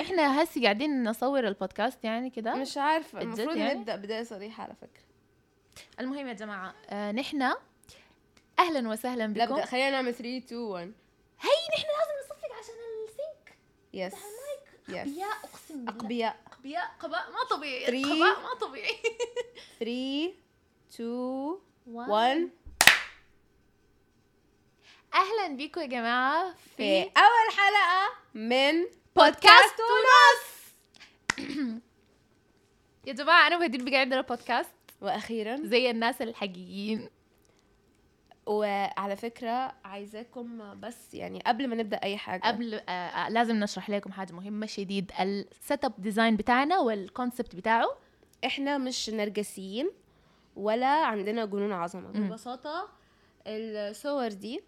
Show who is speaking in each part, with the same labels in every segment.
Speaker 1: احنا هسي قاعدين نصور البودكاست يعني كده
Speaker 2: مش عارفه
Speaker 1: الجد
Speaker 2: المفروض
Speaker 1: يعني؟
Speaker 2: نبدا بدايه صريحه على فكره
Speaker 1: المهم يا جماعه آه نحن اهلا وسهلا
Speaker 2: لا
Speaker 1: بكم
Speaker 2: بدأ خلينا نعمل 3 2 1
Speaker 1: نحن لازم نصفق عشان السينك
Speaker 2: يس يس
Speaker 1: يا اقسم بالله
Speaker 2: اقبياء
Speaker 1: اقبياء قباء ما طبيعي
Speaker 2: Three.
Speaker 1: قباء ما طبيعي
Speaker 2: 3 2 1
Speaker 1: اهلا بكم يا جماعه
Speaker 2: في
Speaker 1: في
Speaker 2: اول حلقه من
Speaker 1: بودكاست
Speaker 2: بودكاست ونص
Speaker 1: يا جماعه انا وهدين بقعد على بودكاست
Speaker 2: واخيرا
Speaker 1: زي الناس الحقيقيين
Speaker 2: وعلى فكره عايزاكم بس يعني قبل ما نبدا اي حاجه
Speaker 1: قبل آه، آه، لازم نشرح لكم حاجه مهمه شديد السيت اب ديزاين بتاعنا والكونسبت بتاعه
Speaker 2: احنا مش نرجسيين ولا عندنا جنون عظمه
Speaker 1: مم.
Speaker 2: ببساطه الصور دي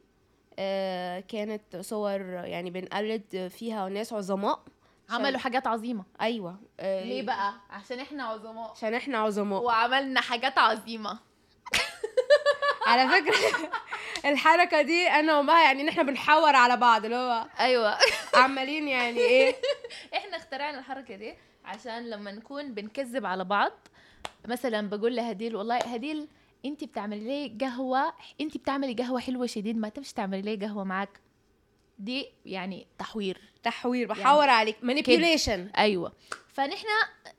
Speaker 2: آه، كانت صور يعني بنقلد فيها ناس عظماء
Speaker 1: عملوا حاجات عظيمه
Speaker 2: ايوه آه،
Speaker 1: ليه بقى عشان احنا عظماء
Speaker 2: عشان احنا عظماء
Speaker 1: وعملنا حاجات عظيمه
Speaker 2: على فكره الحركه دي انا وما يعني ان احنا بنحور على بعض اللي هو
Speaker 1: ايوه
Speaker 2: عمالين يعني ايه
Speaker 1: احنا اخترعنا الحركه دي عشان لما نكون بنكذب على بعض مثلا بقول لهديل والله هديل انت بتعملي لي قهوه انت بتعملي قهوه حلوه شديد ما تمشي تعملي لي قهوه معاك دي يعني تحوير
Speaker 2: تحوير بحور عليك مانيبيوليشن
Speaker 1: ايوه فنحن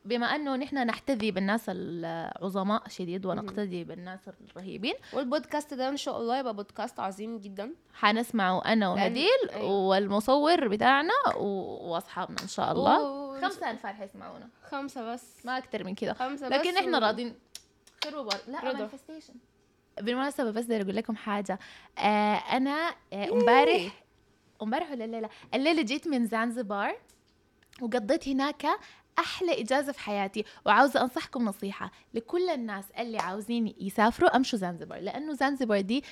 Speaker 1: بما انه نحن نحتذي بالناس العظماء شديد ونقتدي بالناس الرهيبين
Speaker 2: والبودكاست ده ان شاء الله يبقى بودكاست عظيم جدا
Speaker 1: حنسمعه انا
Speaker 2: لأن-
Speaker 1: وهديل
Speaker 2: أيوة.
Speaker 1: والمصور بتاعنا و- واصحابنا ان شاء الله
Speaker 2: و-
Speaker 1: خمسة انفار حيسمعونا
Speaker 2: خمسه بس
Speaker 1: ما اكتر من كده
Speaker 2: خمسه بس
Speaker 1: لكن احنا
Speaker 2: و-
Speaker 1: راضين خير وبركه لا
Speaker 2: رضا.
Speaker 1: مانيفستيشن بالمناسبه بس بدي اقول لكم حاجه آه انا آه، امبارح امبارح ولا الليله الليله جيت من زنزبار وقضيت هناك احلى اجازه في حياتي وعاوزه انصحكم نصيحه لكل الناس اللي عاوزين يسافروا امشوا زنزبار لانه زنزبار دي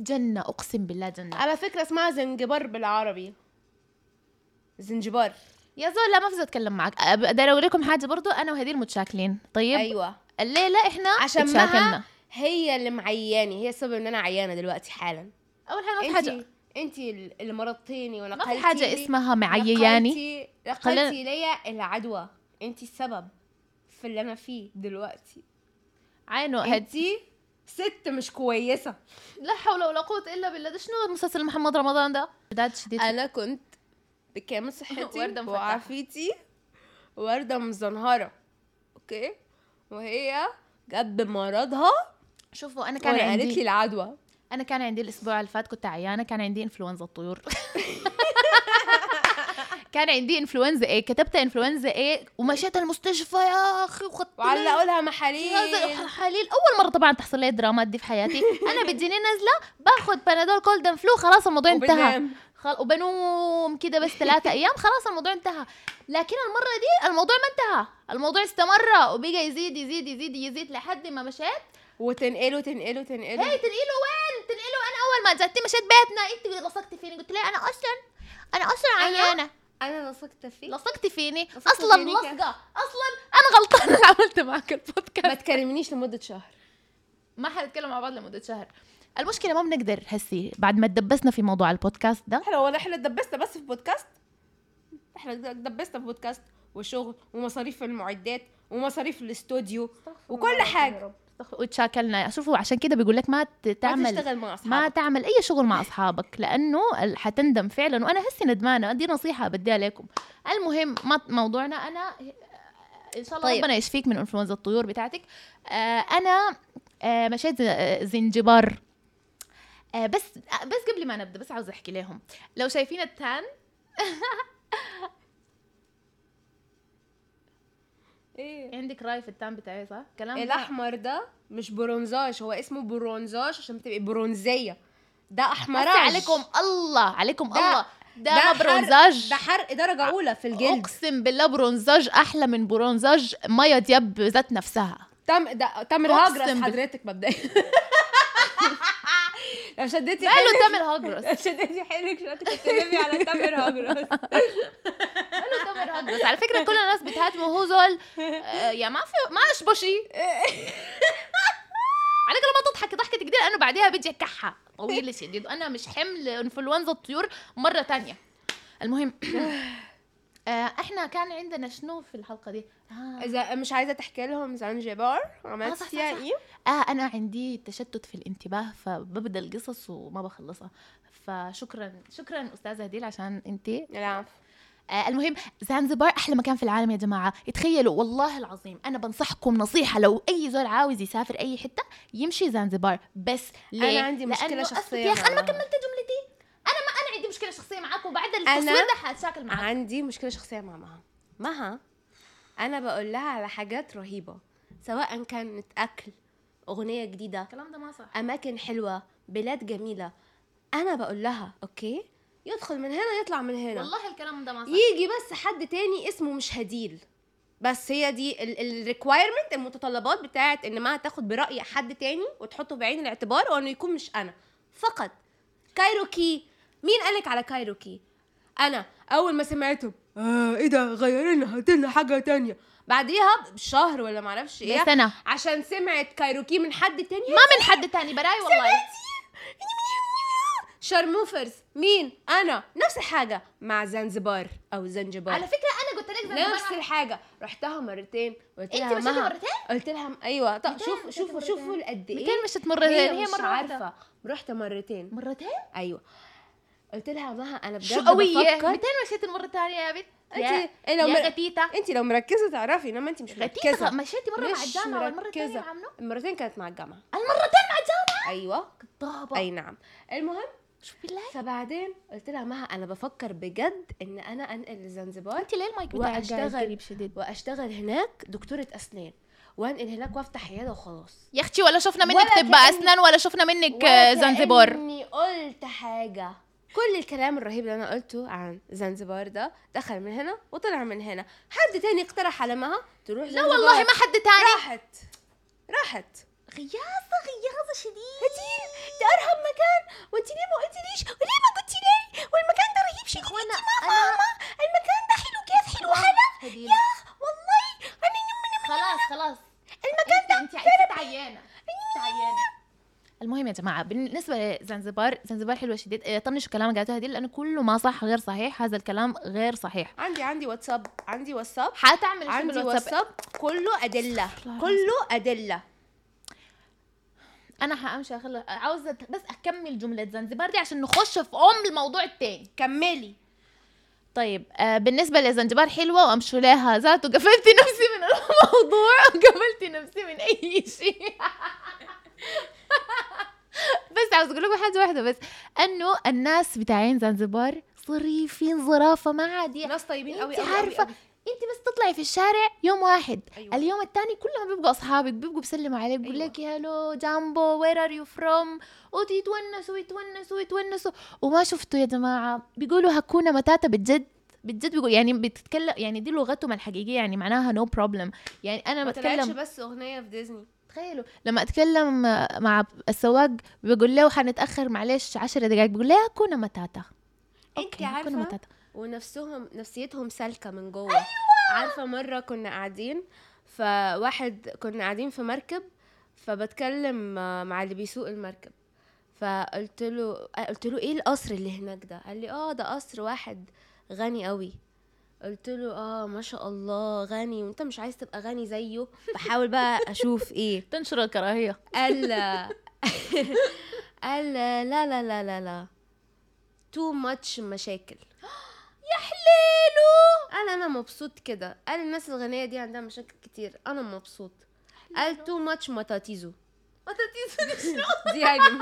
Speaker 1: جنه اقسم بالله جنه
Speaker 2: على فكره اسمها زنجبار بالعربي زنجبار
Speaker 1: يا زول لا ما في اتكلم معك أه، بدي اقول لكم حاجه برضو انا وهديل متشاكلين طيب
Speaker 2: ايوه
Speaker 1: الليله احنا
Speaker 2: عشان معها
Speaker 1: اتشاكلنا
Speaker 2: هي اللي معياني هي السبب ان انا عيانه دلوقتي حالا
Speaker 1: اول حاجه ما في حاجه
Speaker 2: انت انت اللي مرضتيني
Speaker 1: ما
Speaker 2: ونقلتي
Speaker 1: في حاجة اسمها يعني؟ معيياني خلينا-
Speaker 2: نقلتي ليا العدوى انت السبب في اللي انا فيه دلوقتي
Speaker 1: عينه هد
Speaker 2: انت ست مش كويسه
Speaker 1: لا حول ولا قوة إلا بالله ده شنو مسلسل محمد رمضان ده؟ بدات شديد
Speaker 2: انا كنت بكامل صحتي
Speaker 1: وردة مفتحة.
Speaker 2: وعافيتي ورده مزنهره اوكي وهي جت بمرضها
Speaker 1: شوفوا أنا كان
Speaker 2: كان قالت لي
Speaker 1: عندي
Speaker 2: العدوى
Speaker 1: أنا كان عندي الأسبوع اللي فات كنت عيانة كان عندي إنفلونزا الطيور كان عندي إنفلونزا إيه كتبت إنفلونزا إيه ومشيت المستشفى يا أخي وخدت لي
Speaker 2: وعلقوا لها محاليل
Speaker 1: هذا حليل أول مرة طبعا تحصل لي الدرامات دي في حياتي أنا بتجيني نازلة باخد بنادول كولدن فلو خلاص الموضوع انتهى
Speaker 2: وبنام.
Speaker 1: خل... وبنوم كده بس ثلاثة أيام خلاص الموضوع انتهى لكن المرة دي الموضوع ما انتهى الموضوع استمر وبقى يزيد يزيد يزيد يزيد لحد ما مشيت
Speaker 2: وتنقله تنقله تنقله
Speaker 1: هي تنقله وين تنقله أنا أول ما جاتي مشيت بيتنا أنت لصقتي فيني قلت لها أنا أصلا أنا أصلا
Speaker 2: أنا؟
Speaker 1: عيانة
Speaker 2: انا لصقت فيه
Speaker 1: لصقتي فيني
Speaker 2: لصقت
Speaker 1: أصلا
Speaker 2: فينيك.
Speaker 1: لصقة أصلا أنا غلطانة اللي عملت معك
Speaker 2: ما
Speaker 1: البودكاست
Speaker 2: تكلمنيش لمده شهر
Speaker 1: ما حنتكلم مع بعض لمدة شهر المشكلة ما بنقدر هسي بعد ما تدبسنا في موضوع البودكاست ده
Speaker 2: احنا ولا احنا اتدبسنا بس في بودكاست احنا اتدبسنا في بودكاست وشغل ومصاريف المعدات ومصاريف الاستوديو وكل حاجه
Speaker 1: وتشاكلنا شوفوا عشان كده بيقول لك ما ت-
Speaker 2: ما
Speaker 1: تعمل
Speaker 2: تشتغل مع
Speaker 1: ما
Speaker 2: اصحابك
Speaker 1: تعمل اي شغل مع اصحابك لانه ال- حتندم فعلا وانا هسي ندمانه دي نصيحه بديها لكم المهم ما- موضوعنا انا ان شاء الله
Speaker 2: طيب.
Speaker 1: طيب. ربنا يشفيك من انفلونزا الطيور بتاعتك آه انا آه مشيت ز- آه، زنجبار آه بس آه، بس قبل ما نبدا بس عاوز احكي لهم لو شايفين التان
Speaker 2: ايه
Speaker 1: عندك راي في التان بتاعي صح كلام
Speaker 2: الاحمر إيه، ده مش برونزاج هو اسمه برونزاج عشان تبقي برونزيه ده
Speaker 1: بس
Speaker 2: احمراج
Speaker 1: عليكم الله عليكم
Speaker 2: ده-
Speaker 1: الله ده, ده ما
Speaker 2: حرق-
Speaker 1: برونزاج
Speaker 2: ده حرق درجه اولى في الجلد
Speaker 1: اقسم بالله برونزاج احلى من برونزاج مايا دياب بذات نفسها
Speaker 2: تم ده تامر
Speaker 1: أقسم
Speaker 2: هجرس
Speaker 1: بال-
Speaker 2: حضرتك مبدئيا لو شديتي
Speaker 1: ماله
Speaker 2: حيلك-
Speaker 1: تامر هجرس
Speaker 2: لو شديتي حيلك شويه تتكلمي على تامر هجرس
Speaker 1: ماله تامر هجرس على فكره كل الناس بتهاجمه هو زول آه، يا ما في ما اشبه شيء على كده ما تضحكي ضحكه كتير لانه بعديها بيجي كحه طويل شديد وانا مش حمل انفلونزا الطيور مره تانية المهم آه احنا كان عندنا شنو في الحلقه دي آه.
Speaker 2: اذا مش عايزه تحكي لهم زنجبار
Speaker 1: آه، صح،
Speaker 2: عملت
Speaker 1: صح،
Speaker 2: فيها
Speaker 1: صح.
Speaker 2: ايه
Speaker 1: اه انا عندي تشتت في الانتباه فببدا القصص وما بخلصها فشكرا شكرا استاذه هديل عشان انت
Speaker 2: لا
Speaker 1: آه المهم زنجبار احلى مكان في العالم يا جماعه تخيلوا والله العظيم انا بنصحكم نصيحه لو اي زول عاوز يسافر اي حته يمشي زنجبار بس ليه؟
Speaker 2: انا عندي مشكله
Speaker 1: لأنه أصل-
Speaker 2: شخصيه
Speaker 1: يا اخي انا ما
Speaker 2: معاها.
Speaker 1: كملت جملتي انا ما انا عندي مشكله شخصيه معاك وبعد التصوير ده حاتشاكل معاك
Speaker 2: عندي مشكله شخصيه مع مها مها انا بقول لها على حاجات رهيبه سواء كانت اكل اغنيه جديده
Speaker 1: الكلام ده ما صح
Speaker 2: اماكن حلوه بلاد جميله انا بقول لها اوكي يدخل من هنا يطلع من هنا
Speaker 1: والله الكلام ده ما صح
Speaker 2: يجي بس حد تاني اسمه مش هديل بس هي دي الريكوايرمنت المتطلبات بتاعت ان ما تاخد براي حد تاني وتحطه بعين الاعتبار وانه يكون مش انا فقط كايروكي مين قالك على كايروكي انا اول ما سمعته آه ايه ده غير لنا هات لنا حاجه تانية بعديها بشهر ولا معرفش ايه
Speaker 1: سنه
Speaker 2: عشان سمعت كايروكي من حد تاني
Speaker 1: ما من حد تاني براي والله
Speaker 2: شارموفرز مين انا نفس الحاجه مع زنزبار او زنجبار
Speaker 1: على فكره انا قلت لك زنجبار
Speaker 2: نفس الحاجه رحتها مرتين قلت
Speaker 1: انت
Speaker 2: لها
Speaker 1: مشيتي
Speaker 2: مها
Speaker 1: مرتين
Speaker 2: قلت لها م- ايوه طب
Speaker 1: مرتين،
Speaker 2: شوف
Speaker 1: مشيتي
Speaker 2: شوفوا
Speaker 1: مرتين.
Speaker 2: شوفوا قد ايه
Speaker 1: مكان مشيت مرتين هي,
Speaker 2: مش
Speaker 1: مره واحده
Speaker 2: عارفه رحت مرتين
Speaker 1: مرتين
Speaker 2: ايوه قلت لها مها انا بجد
Speaker 1: شو قوية
Speaker 2: بفكر
Speaker 1: متين مشيت المرة الثانية يا بنت يا,
Speaker 2: انت إيه لو
Speaker 1: يا
Speaker 2: مر...
Speaker 1: غتيتة
Speaker 2: انت لو مركزه تعرفي انما انت مش
Speaker 1: غتيتة
Speaker 2: مركزه
Speaker 1: مشيتي مرة مع
Speaker 2: مش
Speaker 1: الجامعة والمرة الثانية
Speaker 2: مركزة.
Speaker 1: مع منو؟
Speaker 2: المرتين كانت مع الجامعه
Speaker 1: المرتين مع الجامعة
Speaker 2: ايوه
Speaker 1: طابة
Speaker 2: اي نعم المهم
Speaker 1: شو بالله
Speaker 2: فبعدين قلت لها مها انا بفكر بجد ان انا انقل لزنزبار
Speaker 1: انت ليه المايك بتاعك قاعد
Speaker 2: وأشتغل.
Speaker 1: قريب شديد؟
Speaker 2: واشتغل هناك دكتوره اسنان وانقل هناك وافتح عياده وخلاص
Speaker 1: يا اختي ولا شفنا منك
Speaker 2: ولا
Speaker 1: طب
Speaker 2: كأني-
Speaker 1: اسنان ولا شفنا منك
Speaker 2: ولا
Speaker 1: آه، زنجبار
Speaker 2: كأني قلت حاجة كل الكلام الرهيب اللي انا قلته عن زنزبار ده دخل من هنا وطلع من هنا حد تاني اقترح على مها تروح
Speaker 1: لا والله ما حد تاني
Speaker 2: راحت راحت
Speaker 1: غياظة غياظة شديد
Speaker 2: هديل ده ارهب مكان وانت ليه ما قلتليش وليه ما قلتي لي والمكان ده رهيب شديد انت ما فاهمه المكان ده حلو كيف حلو حلا
Speaker 1: هديل
Speaker 2: يا والله انا نم-
Speaker 1: خلاص خلاص
Speaker 2: المكان ده
Speaker 1: انت تعيانة تعيانة المهم يا جماعة بالنسبة لزنزبار زنزبار حلوة شديد آه، طنشوا الكلام اللي قالته هديل لأنه كله ما صح غير صحيح هذا الكلام غير صحيح
Speaker 2: عندي عندي واتساب عندي واتساب
Speaker 1: حتعمل شو
Speaker 2: عندي
Speaker 1: بالواتساب؟
Speaker 2: واتساب كله ادله
Speaker 1: استغفر الله
Speaker 2: كله ادله
Speaker 1: انا حامشي اخلص عاوزه بس اكمل جمله زنزبار دي عشان نخش في ام الموضوع التاني
Speaker 2: كملي
Speaker 1: طيب آه بالنسبه لزنجبار حلوه وامشوا لها ذات وقفلتي نفسي من الموضوع وقفلتي نفسي من اي شيء بس عاوز اقول لكم حاجه واحده بس انه الناس بتاعين زنجبار صريفين ظرافه ما يعني. عادي
Speaker 2: ناس طيبين قوي
Speaker 1: انت
Speaker 2: قوي
Speaker 1: عارفه انت بس تطلعي في الشارع يوم واحد
Speaker 2: أيوة.
Speaker 1: اليوم الثاني كلهم بيبقوا اصحابك بيبقوا بيسلموا عليك بيقول
Speaker 2: أيوة.
Speaker 1: لك يا هلو جامبو وير ار يو فروم وتتونسوا يتونسوا يتونسوا وما شفتوا يا جماعه بيقولوا هكونا متاتا بجد بجد بيقول يعني بتتكلم يعني دي لغتهم الحقيقيه يعني معناها نو no بروبلم يعني انا
Speaker 2: ما طلعتش
Speaker 1: بتكلم
Speaker 2: بس اغنيه في ديزني
Speaker 1: تخيلوا لما اتكلم مع السواق بيقول له حنتاخر معلش 10 دقائق بيقول لي هكونا متاتا
Speaker 2: انت
Speaker 1: أوكي، هكونا
Speaker 2: عارفه
Speaker 1: متاتا
Speaker 2: ونفسهم نفسيتهم سالكه من جوه أيوة. عارفه مره كنا قاعدين فواحد كنا قاعدين في مركب فبتكلم آه، مع اللي بيسوق المركب فقلت له آه، قلت له ايه القصر اللي هناك ده قال لي اه ده قصر واحد غني قوي قلت له اه ما شاء الله غني وانت مش عايز تبقى غني زيه بحاول بقى اشوف ايه
Speaker 1: تنشر الكراهيه
Speaker 2: قال قال لا لا لا لا لا تو ماتش مشاكل
Speaker 1: يا حليلو
Speaker 2: قال انا مبسوط كده قال الناس الغنيه دي عندها مشاكل كتير انا مبسوط قال تو ماتش متاتيزو
Speaker 1: ما تتيسوني شنو
Speaker 2: دي يعني م-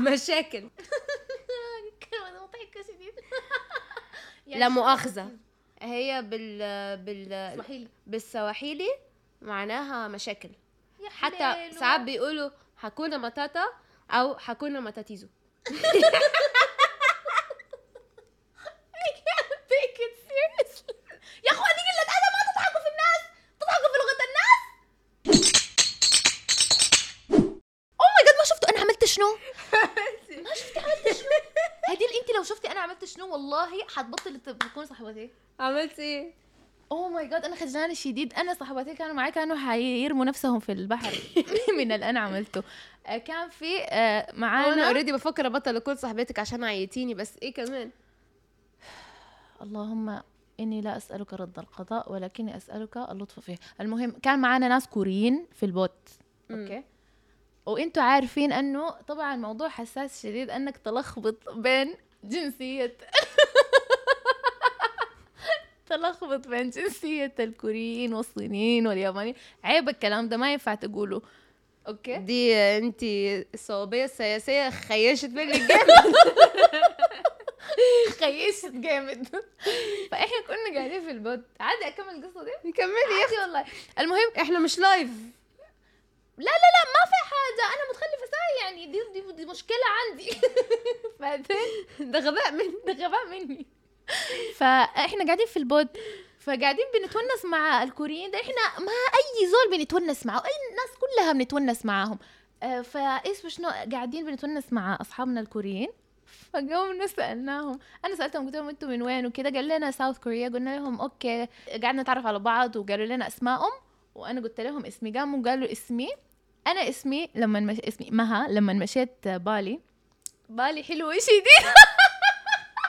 Speaker 2: مشاكل
Speaker 1: كلمة مضحكة شديد
Speaker 2: لا مؤاخذه يعني هي بال بال
Speaker 1: اسمحيلي
Speaker 2: بالسواحيلي معناها مشاكل
Speaker 1: يا
Speaker 2: حتى
Speaker 1: حليلو.
Speaker 2: ساعات بيقولوا حكونا متاتا او حكونا متاتيزو
Speaker 1: I can't take it seriously. يا اخوان دي قلة ادب ما تضحكوا في الناس تضحكوا في لغة الناس اوه ماي جاد ما شفتوا انا عملت شنو؟ ما شفتي عملت شنو؟ هديل انت لو شفتي انا عملت شنو والله حتبطلي تكون صاحبتي
Speaker 2: عملت ايه
Speaker 1: اوه ماي جاد انا خجلانه شديد انا صاحبتي كانوا معي كانوا حيرموا نفسهم في البحر من اللي انا عملته آه، كان في آه،
Speaker 2: انا
Speaker 1: معانا
Speaker 2: اوريدي إيه بفكر ابطل اكون صاحبتك عشان عيتيني بس ايه كمان
Speaker 1: اللهم إني لا أسألك رد القضاء ولكني أسألك اللطف فيه المهم كان معانا ناس كوريين في البوت
Speaker 2: مم.
Speaker 1: أوكي وانتوا عارفين انه طبعا الموضوع حساس شديد انك تلخبط بين جنسية تلخبط بين جنسية الكوريين والصينيين واليابانيين عيب الكلام ده ما ينفع تقوله اوكي
Speaker 2: دي انت الصوابيه السياسيه خيشت من الجيم
Speaker 1: خيشت جامد فاحنا كنا قاعدين في البوت عادي اكمل القصه دي
Speaker 2: كملي
Speaker 1: عادي والله المهم
Speaker 2: احنا مش لايف
Speaker 1: لا لا لا ما في حاجه انا متخلفه ساي يعني دي دي, دي مشكله عندي بعدين
Speaker 2: ده غباء مني
Speaker 1: ده غباء مني فاحنا قاعدين في البود فقاعدين بنتونس مع الكوريين ده احنا ما اي زول بنتونس معه اي الناس كلها بنتونس معاهم آه، فايش وشنو قاعدين بنتونس مع اصحابنا الكوريين فقومنا سالناهم انا سالتهم قلت لهم انتم من وين وكده قال لنا ساوث كوريا قلنا لهم اوكي قعدنا نتعرف على بعض وقالوا لنا اسمائهم وانا قلت لهم اسمي قاموا قالوا اسمي انا اسمي لما مش اسمي مها لما مشيت بالي بالي حلوه شديد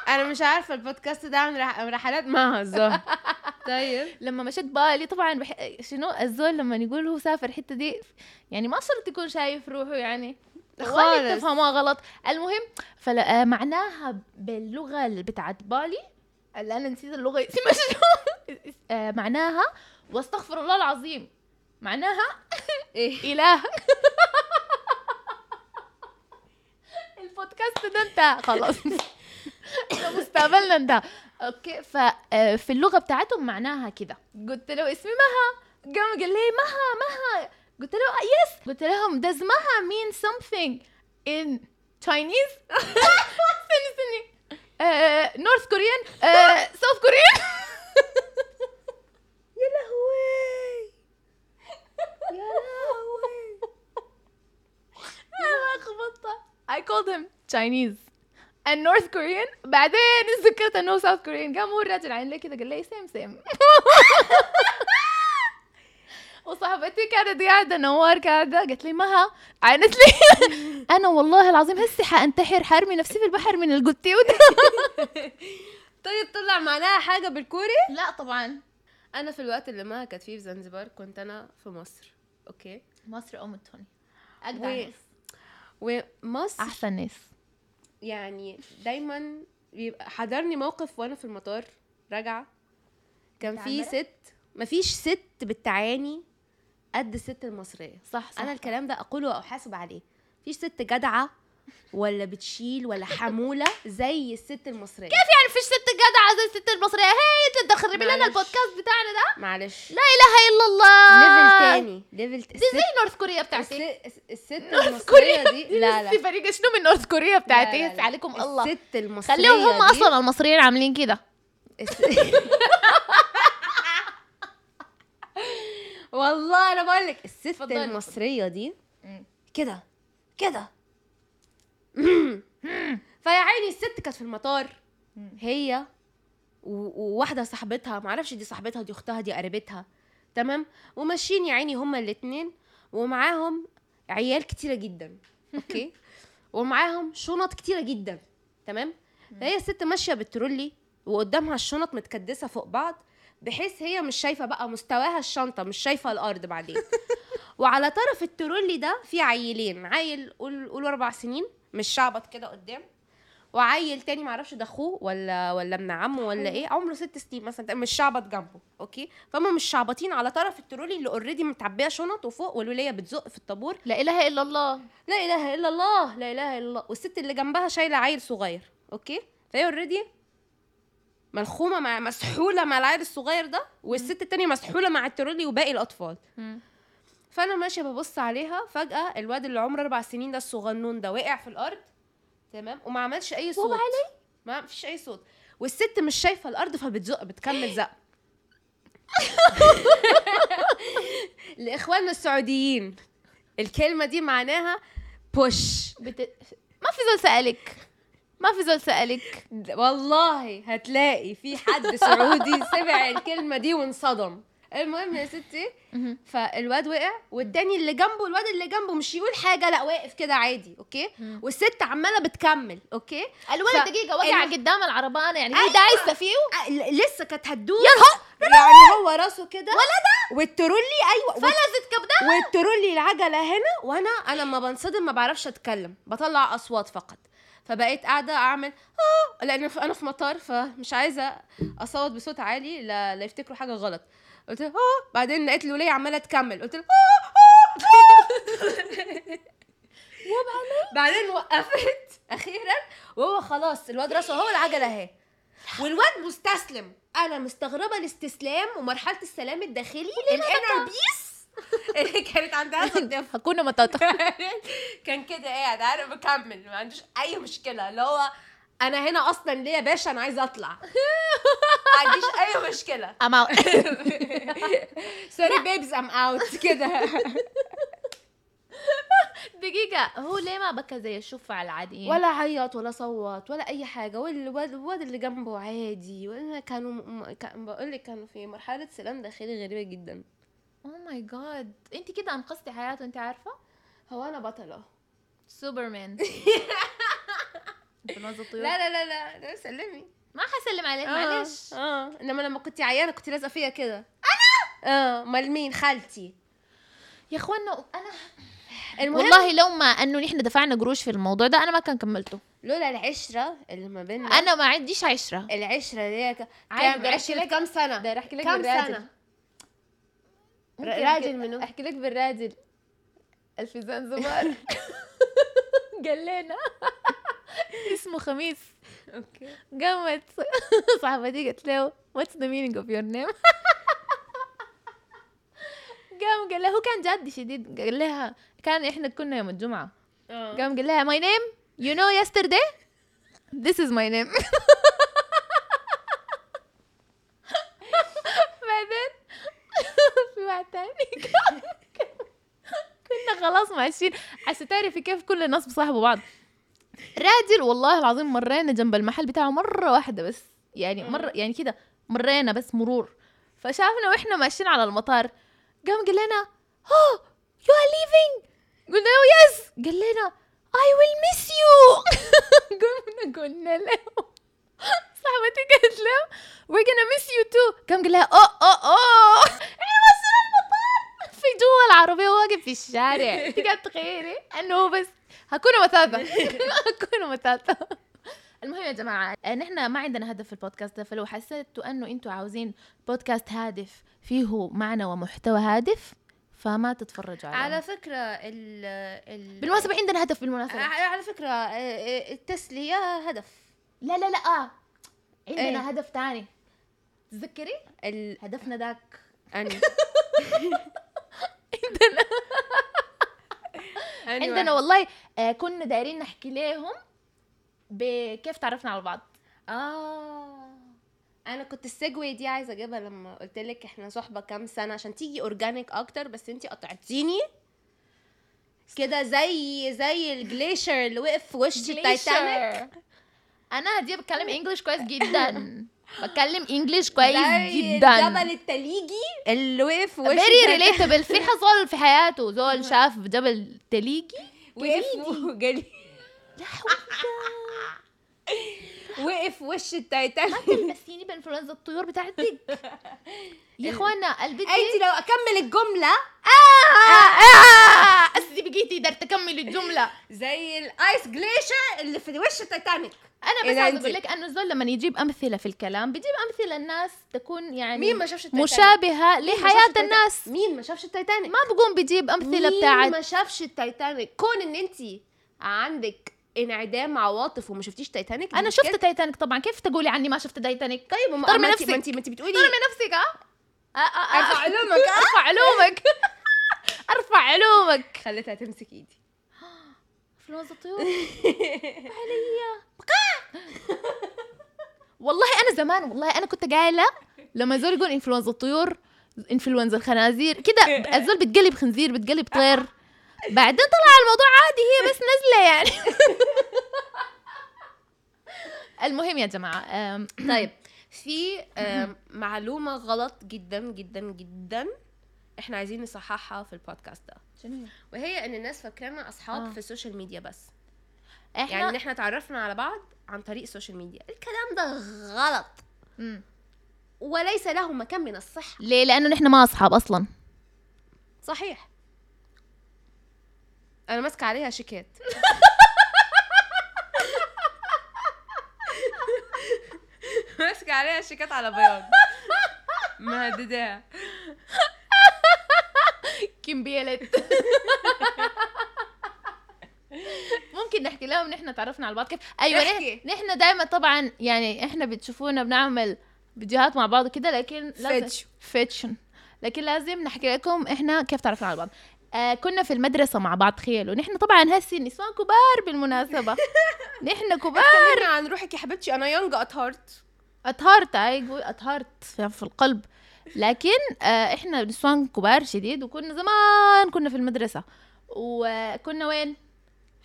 Speaker 2: انا مش عارفه البودكاست ده عن رح... رحلات معها الظهر طيب
Speaker 1: لما مشيت بالي طبعا بح... شنو الزول لما يقول هو سافر الحته دي يعني ما شرط يكون شايف روحه يعني ولا
Speaker 2: خالص.
Speaker 1: تفهموها غلط المهم فمعناها باللغه اللي بتاعت بالي اللي انا نسيت اللغه اسمها شنو آه، معناها واستغفر الله العظيم معناها
Speaker 2: ايه
Speaker 1: اله البودكاست ده انتهى خلاص ده مستقبلنا انتهى اوكي ففي اللغه بتاعتهم معناها كده قلت له اسمي مها قام قال لي مها مها قلت له آه، يس قلت لهم does مها mean something in Chinese استني استني آه، نورث كوريان ساوث كوريان
Speaker 2: يا لهوي يا لهوي
Speaker 1: انا خبطت I called him Chinese and North Korean بعدين ذكرت انه South Korean قام هو الراجل عين لي كذا قال لي سيم سيم وصاحبتي كانت قاعده نوار قاعده قالت لي مها عينت لي انا والله العظيم هسه حانتحر حارمي نفسي في البحر من القتيوت
Speaker 2: طيب طلع معناها حاجه بالكوري
Speaker 1: لا طبعا
Speaker 2: انا في الوقت اللي ما كانت فيه في زنزبار كنت انا في مصر اوكي
Speaker 1: مصر ام التوني
Speaker 2: أجدع ناس. ومصر
Speaker 1: احسن ناس
Speaker 2: يعني دايما بيبقى حضرني موقف وانا في المطار راجعه كان في
Speaker 1: متعمرة؟
Speaker 2: ست مفيش ست بالتعاني قد الست المصريه
Speaker 1: صح صح
Speaker 2: انا الكلام ده اقوله واحاسب عليه مفيش ست جدعه ولا بتشيل ولا حموله زي الست المصريه
Speaker 1: كيف يعني فيش ست جدعه زي الست المصريه هي انت تخربي لنا
Speaker 2: معلش.
Speaker 1: البودكاست بتاعنا ده
Speaker 2: معلش
Speaker 1: لا اله الا الله
Speaker 2: ليفل تاني ليفل ت-
Speaker 1: دي
Speaker 2: الست
Speaker 1: زي نورث كوريا بتاعتي
Speaker 2: الست- الست
Speaker 1: نورث
Speaker 2: المصريه
Speaker 1: كوريا
Speaker 2: دي لا لا
Speaker 1: دي فريقه شنو من نورث كوريا بتاعتي
Speaker 2: لا، لا،
Speaker 1: يس
Speaker 2: لا.
Speaker 1: عليكم الله
Speaker 2: الست المصريه
Speaker 1: خليهم هم
Speaker 2: دي-
Speaker 1: اصلا المصريين عاملين كده
Speaker 2: والله انا بقول لك الست
Speaker 1: اتفضلي.
Speaker 2: المصريه دي
Speaker 1: مم.
Speaker 2: كده كده فيا عيني الست كانت في المطار
Speaker 1: مم.
Speaker 2: هي و- وواحده صاحبتها معرفش دي صاحبتها دي اختها دي قريبتها تمام وماشيين يا عيني هما الاتنين ومعاهم عيال كتيره جدا اوكي ومعاهم شنط كتيره جدا تمام فهي الست ماشيه بالترولي وقدامها الشنط متكدسه فوق بعض بحيث هي مش شايفه بقى مستواها الشنطه مش شايفه الارض بعدين وعلى طرف الترولي ده في عيلين عيل قول قول اربع سنين مش شعبط كده قدام وعيل تاني معرفش ده اخوه ولا ولا ابن عمه ولا ايه عمره ست سنين مثلا مش شعبط جنبه اوكي فهم مش شعبطين على طرف الترولي اللي اوريدي متعبيه شنط وفوق والوليه بتزق في الطابور
Speaker 1: لا اله الا الله
Speaker 2: لا اله الا الله لا اله الا الله والست اللي جنبها شايله عيل صغير اوكي فهي اوريدي ملخومه مع مسحوله مع العيل الصغير ده والست التانية مسحوله مع الترولي وباقي الاطفال فانا ماشيه ببص عليها فجاه الواد اللي عمره اربع سنين ده الصغنون ده وقع في الارض تمام وما عملش اي صوت
Speaker 1: وهو علي؟
Speaker 2: ما فيش اي صوت والست مش شايفه الارض فبتزق بتكمل زق لاخواننا السعوديين الكلمه دي معناها بوش
Speaker 1: بت... ما في زول سالك ما في زول سالك
Speaker 2: والله هتلاقي في حد سعودي سمع الكلمه دي وانصدم المهم يا ستي
Speaker 1: مهم.
Speaker 2: فالواد وقع والتاني اللي جنبه الواد اللي جنبه مش يقول حاجه لا واقف كده عادي اوكي
Speaker 1: مم.
Speaker 2: والست عماله بتكمل اوكي
Speaker 1: الولد
Speaker 2: ف-
Speaker 1: دقيقه وقع
Speaker 2: ال-
Speaker 1: قدام العربانه يعني هي
Speaker 2: أيوة.
Speaker 1: دايسه فيه
Speaker 2: آه، ل- لسه كانت هتدوس يعني هو راسه كده ولا ده والترولي ايوه
Speaker 1: فلزت كبدها
Speaker 2: والترولي العجله هنا وانا انا لما بنصدم ما بعرفش اتكلم بطلع اصوات فقط فبقيت قاعده اعمل اه لان ف- انا في مطار فمش عايزه اصوت بصوت عالي لا, لا يفتكروا حاجه غلط قلت لها اه بعدين لقيت الوليه عماله تكمل قلت لها اه آه. اه بعدين وقفت اخيرا وهو خلاص الواد راسه هو العجله اهي والواد مستسلم انا مستغربه الاستسلام ومرحله السلام الداخلي الانر بيس اللي كانت عندها صدفه
Speaker 1: هكون مطاطا
Speaker 2: كان كده قاعد عارف بكمل ما عندوش اي مشكله اللي هو انا هنا اصلا ليه يا باشا انا عايزه اطلع ما عنديش اي مشكله
Speaker 1: اما
Speaker 2: سوري بيبز ام اوت كده
Speaker 1: دقيقه هو ليه ما بكى زي الشفع العاديين
Speaker 2: ولا عيط ولا صوت ولا اي حاجه والواد الواد اللي جنبه عادي ولا كانوا م... م- كان بقول لك كانوا في مرحله سلام داخلي غريبه جدا
Speaker 1: اوه ماي جاد انت كده انقذتي حياته انت عارفه
Speaker 2: هو انا بطله
Speaker 1: سوبرمان بنوز الطيور
Speaker 2: لا لا لا لا لا سلمي
Speaker 1: ما حسلم عليك
Speaker 2: آه،
Speaker 1: معلش
Speaker 2: اه انما لما كنت عيانه كنت لازقه فيا كده انا اه امال مين خالتي
Speaker 1: يا اخوانا انا
Speaker 2: المهم
Speaker 1: والله لو ما انه نحن دفعنا قروش في الموضوع ده انا ما كان كملته
Speaker 2: لولا العشره اللي ما بيننا
Speaker 1: انا ما عنديش عشره
Speaker 2: العشره دي ك-
Speaker 1: عادي،
Speaker 2: كام
Speaker 1: بحكي
Speaker 2: عشرة
Speaker 1: لك-
Speaker 2: كام سنه
Speaker 3: ده احكي لك
Speaker 2: كام
Speaker 3: بالراجل
Speaker 2: سنه
Speaker 1: ممكن
Speaker 2: راجل
Speaker 1: كده.
Speaker 2: منو
Speaker 3: احكي لك بالراجل الفيزان زمار
Speaker 1: قال لنا اسمه خميس
Speaker 2: اوكي
Speaker 1: قامت صاحبتي قالت له واتس ذا مينينج اوف يور نيم قام قال لها هو كان جدي شديد قال لها كان احنا كنا يوم الجمعه
Speaker 2: اه
Speaker 1: قام قال لها ماي نيم يو نو يسترداي ذيس از ماي نيم بعدين في واحد تاني قام- كنا خلاص ماشيين عشان تعرفي كيف كل الناس بصاحبوا بعض راجل والله العظيم مرينا جنب المحل بتاعه مرة واحدة بس يعني مرة يعني كده مرينا بس مرور فشافنا واحنا ماشيين على المطار قام قال لنا oh you are leaving قلنا له يس قال لنا I will miss you قمنا قلنا له صاحبتي قالت له we're gonna miss you too قام قال لها "Oh, اوه اوه اوه احنا ماشيين على المطار في جوا العربية واقف في الشارع انت قاعد تخيلي انه هو بس هكون مثاثة هكون مثاثة المهم يا جماعة آه، نحن ما عندنا هدف في البودكاست ده فلو حسيتوا انه انتوا عاوزين بودكاست هادف فيه معنى ومحتوى هادف فما تتفرجوا عليه
Speaker 2: على فكره ال ال
Speaker 1: بالمناسبة عندنا هدف بالمناسبة
Speaker 2: ع- على فكره آه، آه، التسليه هدف
Speaker 1: لا لا لا آه. عندنا
Speaker 2: إيه؟
Speaker 1: هدف تاني تذكري
Speaker 2: ال
Speaker 1: هدفنا ذاك
Speaker 2: أنا. عندنا
Speaker 1: عندنا والله آه كنا دايرين نحكي ليهم بكيف تعرفنا على بعض
Speaker 2: اه انا كنت السيجوي دي عايزه اجيبها لما قلت لك احنا صحبه كام سنه عشان تيجي اورجانيك اكتر بس انتي قطعتيني كده زي زي الجليشر اللي وقف في وش التايتانيك
Speaker 1: Glacier. انا دي بتكلم انجلش كويس جدا بتكلم انجلش كويس
Speaker 2: زي
Speaker 1: جدا
Speaker 2: الجبل التليجي اللي وقف في وش
Speaker 1: فيري
Speaker 2: التايتانيك.
Speaker 1: ريليتابل في حصل في حياته زول شاف جبل تليجي
Speaker 2: وقف وجلي
Speaker 1: لا حول
Speaker 2: وقف في وش التايتانيك
Speaker 1: تلبسيني بانفلونزا يعني الطيور بتاعتك يا اخوانا البنت دي-
Speaker 2: انتي لو اكمل الجمله آه،
Speaker 1: قصدي بقيتي قدرت اكمل الجمله
Speaker 2: زي الايس جليشر اللي في وش التايتانيك
Speaker 1: انا
Speaker 2: إيه
Speaker 1: بس
Speaker 2: ده
Speaker 1: عايزه
Speaker 2: انت؟
Speaker 1: اقول لك انه الزول لما يجيب امثله في الكلام بيجيب امثله الناس تكون يعني
Speaker 2: مين ما شافش التايتانيك
Speaker 1: مشابهه
Speaker 2: مين ما شافش
Speaker 1: لحياه
Speaker 2: التايتانيك؟
Speaker 1: الناس
Speaker 2: مين ما شافش التايتانيك
Speaker 1: ما بقوم بيجيب امثله
Speaker 2: مين
Speaker 1: بتاعت
Speaker 2: ما شافش التايتانيك كون ان انت عندك انعدام عواطف وما شفتيش تايتانيك دي
Speaker 1: انا
Speaker 2: مشكلة.
Speaker 1: شفت تايتانيك طبعا كيف تقولي عني ما شفت تايتانيك
Speaker 2: طيب ما
Speaker 1: طرمي
Speaker 2: ما انت
Speaker 1: نفسك.
Speaker 2: ما انت ما انت بتقولي
Speaker 1: ظلمي نفسك ها آه، آه، آه.
Speaker 2: ارفع طيب، علومك، آه.
Speaker 1: ارفع علومك ارفع علومك
Speaker 2: خليتها تمسك ايدي
Speaker 1: فلوز الطيور عليا والله انا زمان والله انا كنت قايله لما الزول يقول انفلونزا الطيور انفلونزا الخنازير كده الزول بتقلب خنزير بتقلب طير بعدين طلع الموضوع عادي هي بس نزله يعني المهم يا جماعه أم،
Speaker 2: طيب في آم، معلومه غلط جدا جدا جدا احنا عايزين نصححها في البودكاست ده
Speaker 3: شنو هي؟
Speaker 2: وهي ان الناس فاكرانا اصحاب
Speaker 1: آه.
Speaker 2: في السوشيال ميديا بس
Speaker 1: احنا
Speaker 2: يعني ان احنا اتعرفنا على بعض عن طريق السوشيال ميديا الكلام ده غلط
Speaker 1: مم.
Speaker 2: وليس له مكان من الصحه
Speaker 1: ليه لانه نحن ما اصحاب اصلا
Speaker 2: صحيح انا ماسكه عليها شيكات ماسكه عليها شيكات على بياض مهدداها
Speaker 1: كيم بيلت ممكن نحكي لهم نحن تعرفنا على بعض كيف ايوه
Speaker 2: نحكي.
Speaker 1: نحن, نحن دائما طبعا يعني احنا بتشوفونا بنعمل فيديوهات مع بعض وكده لكن
Speaker 2: فتش.
Speaker 1: لازم فيتشن لكن لازم نحكي لكم احنا كيف تعرفنا على بعض آه كنا في المدرسة مع بعض تخيلوا نحن طبعا هسي نسوان كبار بالمناسبة نحن كبار
Speaker 2: اتكلمنا عن روحك يا حبيبتي انا يونج ات هارت
Speaker 1: اطهرت هاي يقول اطهرت في في القلب لكن آه احنا نسوان كبار شديد وكنا زمان كنا في المدرسه وكنا وين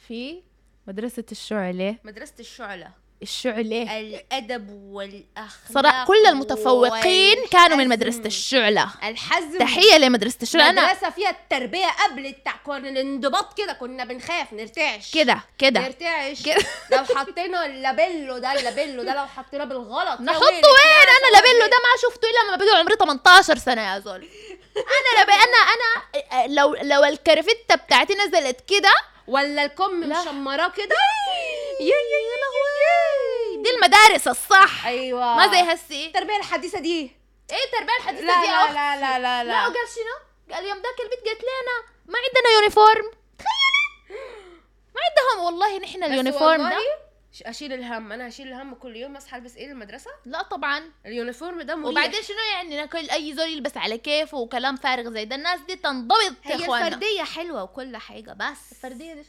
Speaker 1: في مدرسه الشعله
Speaker 2: مدرسه الشعله
Speaker 1: الشعله
Speaker 2: الادب والاخلاق
Speaker 1: صراحه كل المتفوقين كانوا من مدرسه
Speaker 2: والحزم.
Speaker 1: الشعله
Speaker 2: الحزم
Speaker 1: تحيه لمدرسه الشعله انا
Speaker 2: مدرسه فيها التربيه قبل التع... كنا الانضباط كده كنا بنخاف نرتعش
Speaker 1: كده كده
Speaker 2: نرتعش
Speaker 1: كده.
Speaker 2: لو حطينا اللابيلو ده اللابيلو ده لو حطيناه بالغلط يا
Speaker 1: نحطه
Speaker 2: ويلك
Speaker 1: وين
Speaker 2: يا
Speaker 1: انا لابيلو ده ما شفته الا لما بقى عمري 18 سنه يا زول انا لابي انا انا لو لو الكرفته بتاعتي نزلت كده
Speaker 2: ولا الكم
Speaker 1: لا.
Speaker 2: مشمراه كده
Speaker 1: يا يا يا لهوي دي المدارس الصح
Speaker 2: ايوه
Speaker 1: ما زي هسي
Speaker 2: التربيه الحديثه دي
Speaker 1: ايه تربيه الحديثه
Speaker 2: لا
Speaker 1: دي يا
Speaker 2: لا
Speaker 1: أختي.
Speaker 2: لا لا
Speaker 1: لا
Speaker 2: لا لا
Speaker 1: وقال شنو؟ قال يوم ذاك البيت قالت لنا ما عندنا يونيفورم تخيلي ما عندهم والله نحن
Speaker 2: بس
Speaker 1: اليونيفورم ده
Speaker 2: والله ش- اشيل الهم انا هشيل الهم كل يوم اصحى البس ايه للمدرسه
Speaker 1: لا طبعا
Speaker 2: اليونيفورم ده مريح
Speaker 1: وبعدين شنو يعني أنا كل اي زول يلبس على كيفه وكلام فارغ زي ده الناس دي تنضبط يا
Speaker 2: هي
Speaker 1: اخوانا
Speaker 2: الفرديه حلوه وكل حاجه بس
Speaker 1: الفرديه دي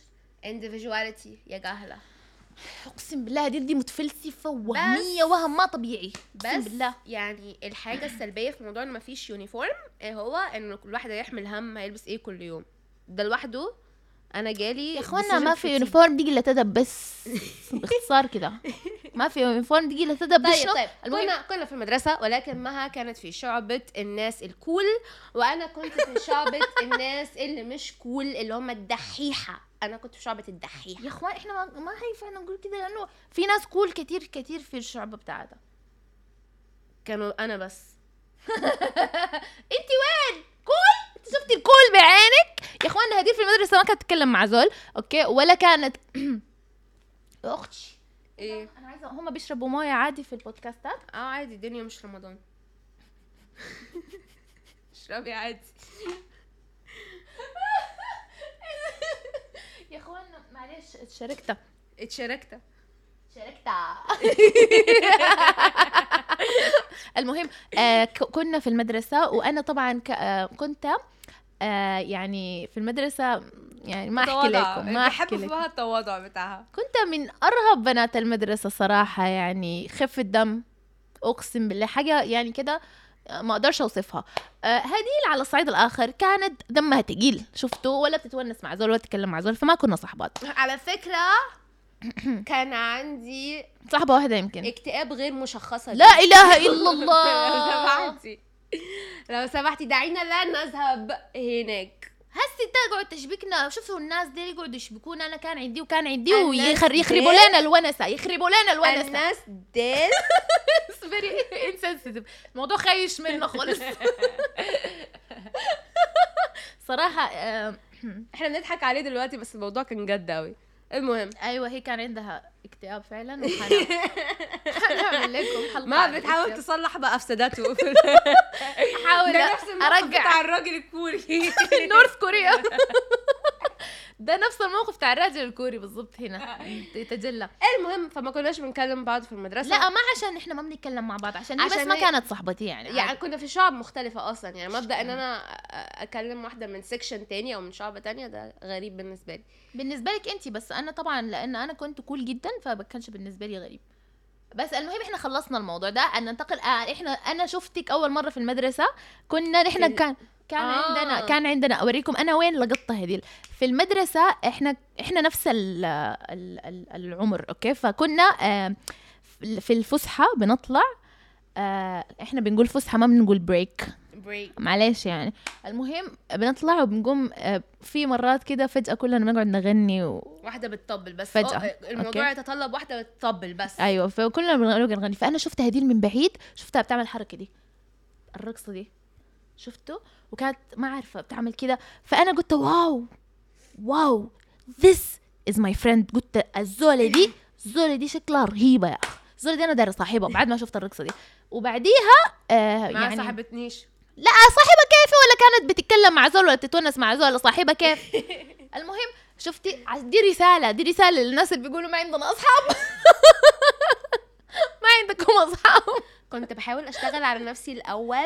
Speaker 2: individuality يا جهله
Speaker 1: اقسم بالله دي دي متفلسفه وهميه
Speaker 2: بس-
Speaker 1: وهم ما طبيعي اقسم
Speaker 2: بس
Speaker 1: بالله
Speaker 2: يعني الحاجه السلبيه في موضوع ان مفيش يونيفورم إيه هو ان كل واحد هيحمل هم هيلبس ايه كل يوم ده لوحده انا جالي
Speaker 1: يا اخوانا
Speaker 2: decision
Speaker 1: ما في
Speaker 2: fatigue.
Speaker 1: يونيفورم دي الا تدب بس باختصار كده ما في يونيفورم دي الا تدب
Speaker 2: طيب
Speaker 1: شنو؟
Speaker 2: طيب
Speaker 1: المهم-
Speaker 2: كنا كنا في المدرسه ولكن مها كانت في شعبه الناس الكول وانا كنت في شعبه الناس اللي مش كول اللي هم الدحيحه انا كنت في شعبه الدحيحه
Speaker 1: يا اخوان احنا ما, ما هينفع نقول كده لانه في ناس كول كتير كتير في الشعب بتاعتها
Speaker 2: كانوا انا بس
Speaker 1: انت وين كول انت شفتي الكول بعينك يا اخوان هدير في المدرسه ما كانت تتكلم مع زول اوكي ولا كانت يا اختي
Speaker 2: ايه
Speaker 1: انا عايزه هم بيشربوا مويه عادي في البودكاستات
Speaker 2: اه عادي الدنيا مش رمضان اشربي عادي
Speaker 1: يا اخوان معلش شاركتها
Speaker 2: اتشاركت
Speaker 1: شاركتها المهم آه ك- كنا في المدرسه وانا طبعا ك- آه، كنت آه يعني في المدرسه يعني ما احكي لكم ما احكي لكم
Speaker 2: التواضع بتاعها
Speaker 1: كنت من ارهب بنات المدرسه صراحه يعني خف الدم اقسم بالله حاجه يعني كده ما اقدرش اوصفها آه، هديل على الصعيد الاخر كانت دمها تقيل شفتوا ولا بتتونس مع زول ولا بتتكلم مع زول فما كنا صحبات
Speaker 2: على فكره كان عندي
Speaker 1: صاحبه واحده يمكن
Speaker 2: اكتئاب غير مشخصه
Speaker 1: لا اله الا
Speaker 2: لو
Speaker 1: الله
Speaker 2: سمحتي لو سمحتي دعينا لا نذهب هناك
Speaker 1: هسي تقعد تشبكنا شوفوا الناس دي يقعدوا يشبكونا انا كان عندي وكان عندي
Speaker 2: الناس
Speaker 1: ويخر
Speaker 2: دي-
Speaker 1: يخربوا لنا الونسه يخربوا لنا الونسه
Speaker 2: الناس ديل
Speaker 1: فيري انسنسيتيف الموضوع خايش منه خالص صراحة آه، آم،
Speaker 2: احنا بنضحك عليه دلوقتي بس الموضوع كان جد قوي المهم
Speaker 1: ايوه هي كان عندها اكتئاب فعلا وحنعمل حنعمل لكم حلقة عن
Speaker 2: ما بتحاول
Speaker 1: الاكتئاب.
Speaker 2: تصلح مفسداته
Speaker 1: احاول
Speaker 2: ده نفس الموقف
Speaker 1: ارجع
Speaker 2: بتاع الراجل الكوري
Speaker 1: نورث كوريا ده نفس الموقف بتاع الراجل الكوري بالضبط هنا يتجلى
Speaker 2: المهم فما كناش بنكلم بعض في المدرسه
Speaker 1: لا ما عشان احنا ما بنتكلم مع بعض عشان هي بس
Speaker 2: عشان
Speaker 1: ما
Speaker 2: هي-
Speaker 1: كانت صاحبتي يعني
Speaker 2: يعني
Speaker 1: عادي.
Speaker 2: كنا في شعب مختلفة أصلا يعني مبدأ إن أنا أ- أكلم واحدة من سيكشن تاني أو من شعبة تانية ده غريب بالنسبة لي
Speaker 1: بالنسبة لك انت بس انا طبعا لان انا كنت كول جدا فما كانش بالنسبة لي غريب بس المهم احنا خلصنا الموضوع ده ان ننتقل آه احنا انا شفتك اول مرة في المدرسة كنا
Speaker 2: في
Speaker 1: احنا
Speaker 2: ال-
Speaker 1: كان كان
Speaker 2: آه.
Speaker 1: آه. عندنا كان عندنا اوريكم انا وين لقطة هذيل في المدرسة احنا احنا نفس ال ال ال العمر اوكي فكنا آه، في الفسحة بنطلع آه احنا بنقول فسحه ما بنقول بريك
Speaker 2: بريك
Speaker 1: معلش يعني المهم بنطلع وبنقوم آه، في مرات كده فجاه كلنا بنقعد نغني و...
Speaker 2: واحده بتطبل بس
Speaker 1: فجأة.
Speaker 2: أو- الموضوع
Speaker 1: أوكي.
Speaker 2: يتطلب واحده بتطبل بس
Speaker 1: ايوه فكلنا بنقعد نغني فانا شفت هديل من بعيد شفتها بتعمل الحركه دي الرقصه دي شفته وكانت ما عارفه بتعمل كده فانا قلت واو واو this is my friend قلت الزوله دي الزوله دي شكلها رهيبه يا اخي الزوله دي انا دايره صاحبها بعد ما شفت الرقصه دي وبعديها آه
Speaker 2: ما
Speaker 1: يعني
Speaker 2: صاحبتنيش
Speaker 1: لا صاحبة كيف ولا كانت بتتكلم مع زول ولا تتونس مع زول صاحبة كيف المهم شفتي ع- دي رسالة دي رسالة للناس اللي بيقولوا ما عندنا أصحاب ما عندكم أصحاب
Speaker 2: كنت بحاول اشتغل على نفسي الاول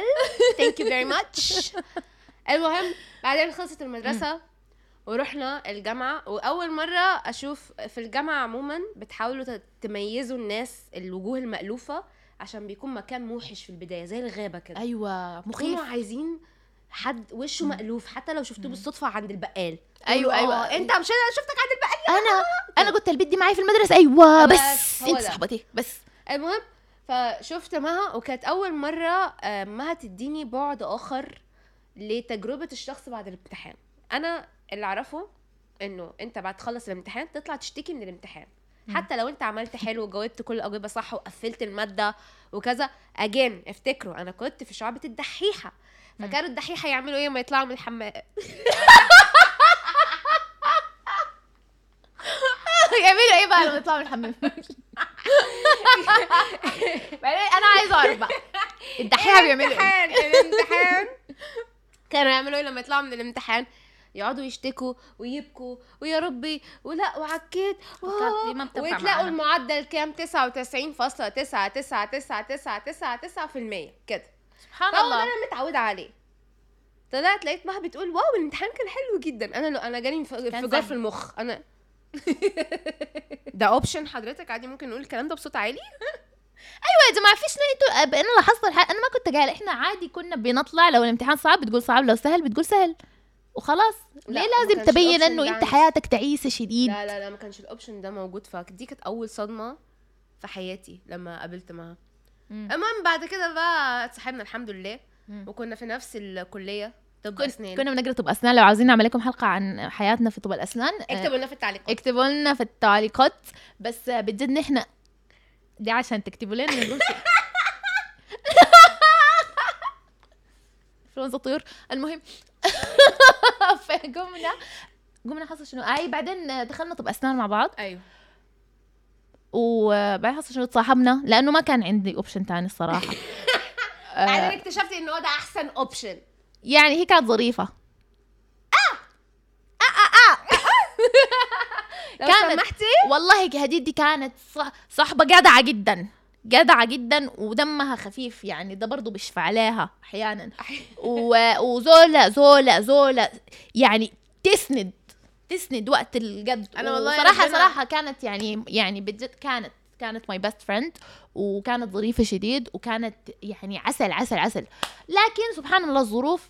Speaker 2: ثانك يو فيري ماتش المهم بعدين خلصت المدرسه ورحنا الجامعه واول مره اشوف في الجامعه عموما بتحاولوا ت- تميزوا الناس الوجوه المالوفه عشان بيكون مكان موحش في البدايه زي الغابه كده
Speaker 1: أيوة
Speaker 2: كانوا عايزين حد وشه مألوف حتى لو شفتوه بالصدفه عند البقال
Speaker 1: أيوة،
Speaker 2: يقولوا،
Speaker 1: أيوة.
Speaker 2: "آه، انت مش انا شفتك عند البقال
Speaker 1: أنا أنا قلت البنت دي معي في المدرسة أيوة
Speaker 2: بس،
Speaker 1: بس
Speaker 2: هو
Speaker 1: أنت
Speaker 2: ده.
Speaker 1: صاحبتي بس
Speaker 2: المهم فشفت مها وكانت اول مره آه، مها تديني بعد اخر لتجربه الشخص بعد الامتحان انا اللي اعرفه انه انت بعد تخلص الامتحان تطلع تشتكي من الامتحان حتى لو انت عملت حلو وجاوبت كل الاجوبه صح وقفلت الماده وكذا اجين افتكروا انا كنت في شعبه الدحيحه فكانوا الدحيحه يعملوا ايه ما يطلعوا من الحمام
Speaker 1: يعملوا إيه بقى لما يطلعوا من الحمام بعدين أنا عايزة أعرف بقى الدحيحة بيعملوا إيه
Speaker 2: الامتحان الامتحان كانوا يعملوا ايه لما يطلعوا من الامتحان يقعدوا يشتكوا ويبكوا ويا ربي ولا وعكيت
Speaker 1: الكات دي ما بتنفع
Speaker 2: وتلاقوا
Speaker 1: معانا.
Speaker 2: المعدل كام 99.9999999% كده
Speaker 1: سبحان
Speaker 2: فهو ده
Speaker 1: الله
Speaker 2: انا متعوده عليه طلعت لقيت مها بتقول واو الامتحان كان حلو جدا انا لو انا جالي انف- انفجار
Speaker 1: سهل.
Speaker 2: في المخ انا ده اوبشن حضرتك عادي ممكن نقول الكلام ده بصوت عالي
Speaker 1: يا جماعه فيش نهايته أب- انا لاحظت الحق انا ما كنت قايله احنا عادي كنا بنطلع لو الامتحان صعب بتقول صعب لو سهل بتقول سهل وخلاص
Speaker 2: لا،
Speaker 1: ليه
Speaker 2: ما
Speaker 1: لازم
Speaker 2: كانش
Speaker 1: تبين
Speaker 2: الأوبشن
Speaker 1: انه
Speaker 2: ده
Speaker 1: انت
Speaker 2: عندي.
Speaker 1: حياتك تعيسه شديد
Speaker 2: لا لا لا ما كانش الاوبشن ده موجود فدي كانت اول صدمه في حياتي لما قابلت معاها
Speaker 1: مم.
Speaker 2: المهم بعد كده بقى اتصاحبنا الحمد لله
Speaker 1: مم.
Speaker 2: وكنا في نفس الكليه طب
Speaker 1: كن-
Speaker 2: اسنان
Speaker 1: كنا بنقرا طب اسنان لو عاوزين نعمل لكم حلقه عن حياتنا في طب الاسنان آه،
Speaker 2: اكتبوا لنا في التعليقات
Speaker 1: اكتبوا لنا في التعليقات بس آه، بجد نحن دي عشان تكتبوا لنا نقول شيء. انفلونزا الطيور المهم فقمنا قمنا حصل شنو اي بعدين آه، دخلنا طب اسنان مع بعض
Speaker 2: ايوه
Speaker 1: وبعدين حصل شنو تصاحبنا لانه ما كان عندي اوبشن تاني الصراحه آه.
Speaker 2: بعدين اكتشفت ان هو ده احسن اوبشن
Speaker 1: يعني هي كانت ظريفه
Speaker 2: لو
Speaker 1: كانت-
Speaker 2: سمحتي
Speaker 1: والله هديد دي كانت صح صاحبه جدعه جدا جدعه جدا ودمها خفيف يعني ده برضه بيشفع عليها احيانا و- وزولا زولا زولا يعني تسند تسند وقت الجد
Speaker 2: أنا والله
Speaker 1: صراحه
Speaker 2: ربنا-
Speaker 1: صراحه كانت يعني يعني بجد كانت كانت ماي بيست فريند وكانت ظريفه شديد وكانت يعني عسل عسل عسل لكن سبحان الله الظروف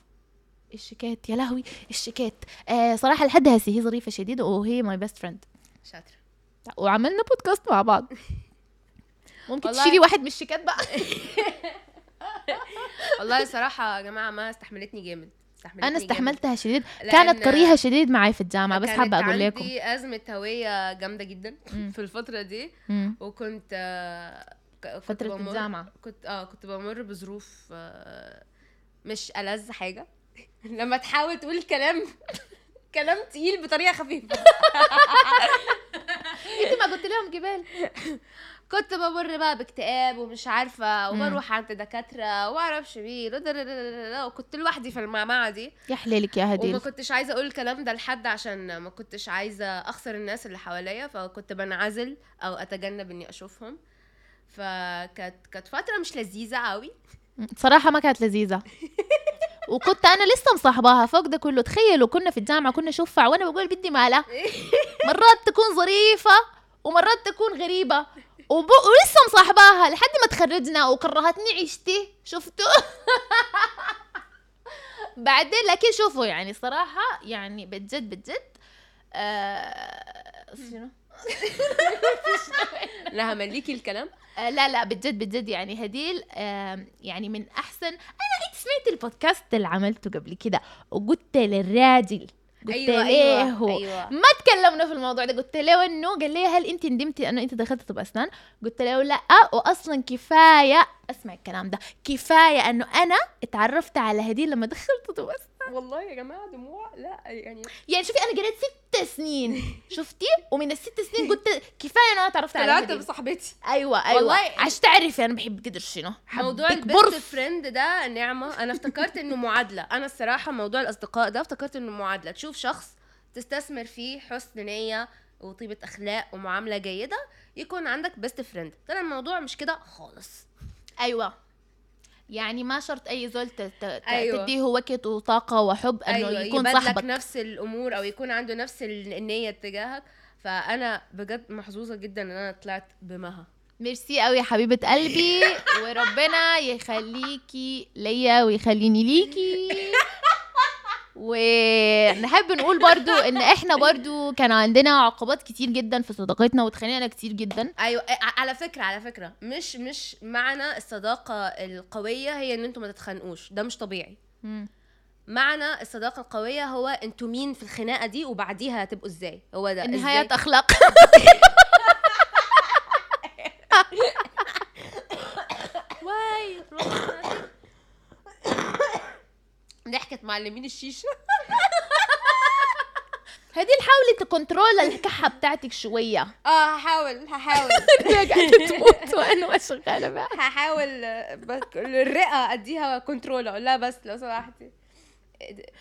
Speaker 1: الشيكات يا لهوي الشيكات آه صراحه لحد هسي هي ظريفه شديد وهي ماي بيست فريند
Speaker 2: شاطره
Speaker 1: وعملنا بودكاست مع بعض ممكن
Speaker 2: والله-
Speaker 1: تشيلي واحد من الشيكات بقى
Speaker 2: والله صراحه يا جماعه ما استحملتني جامد استحملتني
Speaker 1: انا
Speaker 2: جامد.
Speaker 1: استحملتها شديد
Speaker 2: لأن
Speaker 1: كانت كريهه شديد معي في الجامعه بس
Speaker 2: كانت
Speaker 1: حابه اقول لكم
Speaker 2: عندي ازمه هويه جامده جدا
Speaker 1: مم.
Speaker 2: في الفتره دي
Speaker 1: مم.
Speaker 2: وكنت آه، ك- كنت
Speaker 1: فترة
Speaker 2: بمر-
Speaker 1: الجامعة.
Speaker 2: كنت اه كنت بمر بظروف آه، مش ألذ حاجة لما تحاول تقول كلام كلام تقيل بطريقة خفيفة
Speaker 1: انت ما قلت لهم جبال
Speaker 2: كنت بمر بقى باكتئاب ومش عارفة
Speaker 1: مم.
Speaker 2: وبروح عند دكاترة ومعرفش مين ودرررررر، وكنت لوحدي في المعمعة دي
Speaker 1: يا حليلك يا
Speaker 2: وما
Speaker 1: هديل
Speaker 2: كنتش عايزة أقول الكلام ده لحد عشان ما كنتش عايزة أخسر الناس اللي حواليا فكنت بنعزل أو أتجنب إني أشوفهم فكانت كانت فترة مش لذيذة قوي
Speaker 1: صراحه ما كانت لذيذه وكنت انا لسه مصاحباها فوق ده كله تخيلوا كنا في الجامعه كنا شفع وانا بقول بدي مالها مرات تكون ظريفه ومرات تكون غريبه وب... ولسه مصاحباها لحد ما تخرجنا وكرهتني عيشتي شفتوا بعدين لكن شوفوا يعني صراحه يعني بجد بجد آه... شنو
Speaker 2: لا همليكي الكلام
Speaker 1: آه، لا لا بجد بجد يعني هديل آه، يعني من احسن انا انت سمعت البودكاست اللي عملته قبل كده وقلت للراجل قلت
Speaker 2: أيوة،
Speaker 1: له
Speaker 2: ايوه
Speaker 1: ما تكلمنا في الموضوع ده قلت له انه قال لي هل انت ندمتي انه انت دخلت طب اسنان قلت له لا واصلا كفايه اسمع الكلام ده كفايه انه انا اتعرفت على هديل لما دخلت طب اسنان
Speaker 2: والله يا جماعه دموع لا يعني
Speaker 1: يعني شوفي انا قريت ست سنين شفتي ومن الست سنين قلت كفايه انا اتعرفت على
Speaker 2: طلعت
Speaker 1: هديل
Speaker 2: بصاحبتي
Speaker 1: ايوه ايوه والله
Speaker 2: والله-
Speaker 1: عشان تعرفي انا بحب قدر شنو
Speaker 2: موضوع
Speaker 1: حبيت
Speaker 2: البيست فريند ده نعمه انا افتكرت انه معادله انا الصراحه موضوع الاصدقاء ده افتكرت انه معادله تشوف شخص تستثمر فيه حسن نيه وطيبه اخلاق ومعامله جيده يكون عندك بيست فريند طلع الموضوع مش كده خالص
Speaker 1: ايوه يعني ما شرط اي زول ت- ت- ت-
Speaker 2: أيوة.
Speaker 1: تديه وقت وطاقه وحب انه أيوة يكون
Speaker 2: يبادلك
Speaker 1: صاحبك
Speaker 2: نفس الامور او يكون عنده نفس ال- النيه تجاهك فانا بجد محظوظه جدا ان انا طلعت بمها
Speaker 1: ميرسي قوي يا حبيبه قلبي وربنا يخليكي ليا ويخليني ليكي ونحب نقول برضو ان احنا برضو كان عندنا عقبات كتير جدا في صداقتنا واتخانقنا كتير جدا
Speaker 2: ايوه ع- على فكره على فكره مش مش معنى الصداقه القويه هي ان انتوا ما تتخانقوش ده مش طبيعي معنى الصداقه القويه هو انتوا مين في الخناقه دي وبعديها هتبقوا ازاي هو ده
Speaker 1: نهاية
Speaker 2: إزاي؟
Speaker 1: اخلاق
Speaker 2: واي ضحكت معلمين الشيشه
Speaker 1: هدي حاولي تكنترول الكحه بتاعتك شويه
Speaker 2: اه هحاول هحاول
Speaker 1: قاعده تموت وانا شغاله بقى
Speaker 2: هحاول آه، بس الرئه اديها كنترول اقول لها بس لو سمحتي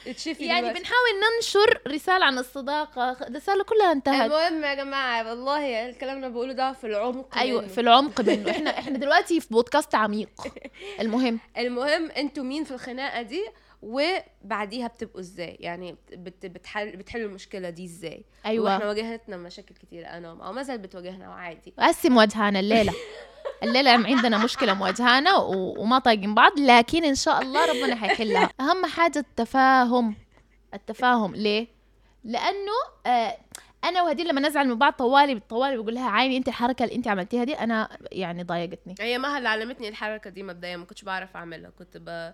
Speaker 2: اتشفي
Speaker 1: يعني
Speaker 2: دلوقتي.
Speaker 1: بنحاول ننشر رسالة عن الصداقة خ- الرسالة كلها انتهت
Speaker 2: المهم يا جماعه والله الكلام اللي أنا بقوله ده أيوة، في العمق
Speaker 1: ايوه
Speaker 2: منه.
Speaker 1: في العمق منه احنا احنا دلوقتي في بودكاست عميق المهم
Speaker 2: المهم انتوا مين في الخناقه دي وبعديها بتبقوا ازاي يعني بت- بت- بتحل بتحلوا المشكله دي ازاي واحنا
Speaker 1: ايوه
Speaker 2: واجهتنا مشاكل كتير انا وم- او ما زالت بتواجهنا وعادي
Speaker 1: بس مواجهانا الليلة الليلة عندنا مشكلة مواجهانا و... وما طايقين بعض لكن ان شاء الله ربنا حيحلها اهم حاجة التفاهم التفاهم ليه؟ لانه آه انا وهديل لما نزعل من بعض طوالي طوالي بقول لها عيني انت الحركه اللي انت عملتيها دي انا يعني ضايقتني
Speaker 2: هي مها اللي علمتني الحركه دي مبدئيا ما كنتش بعرف اعملها كنت ب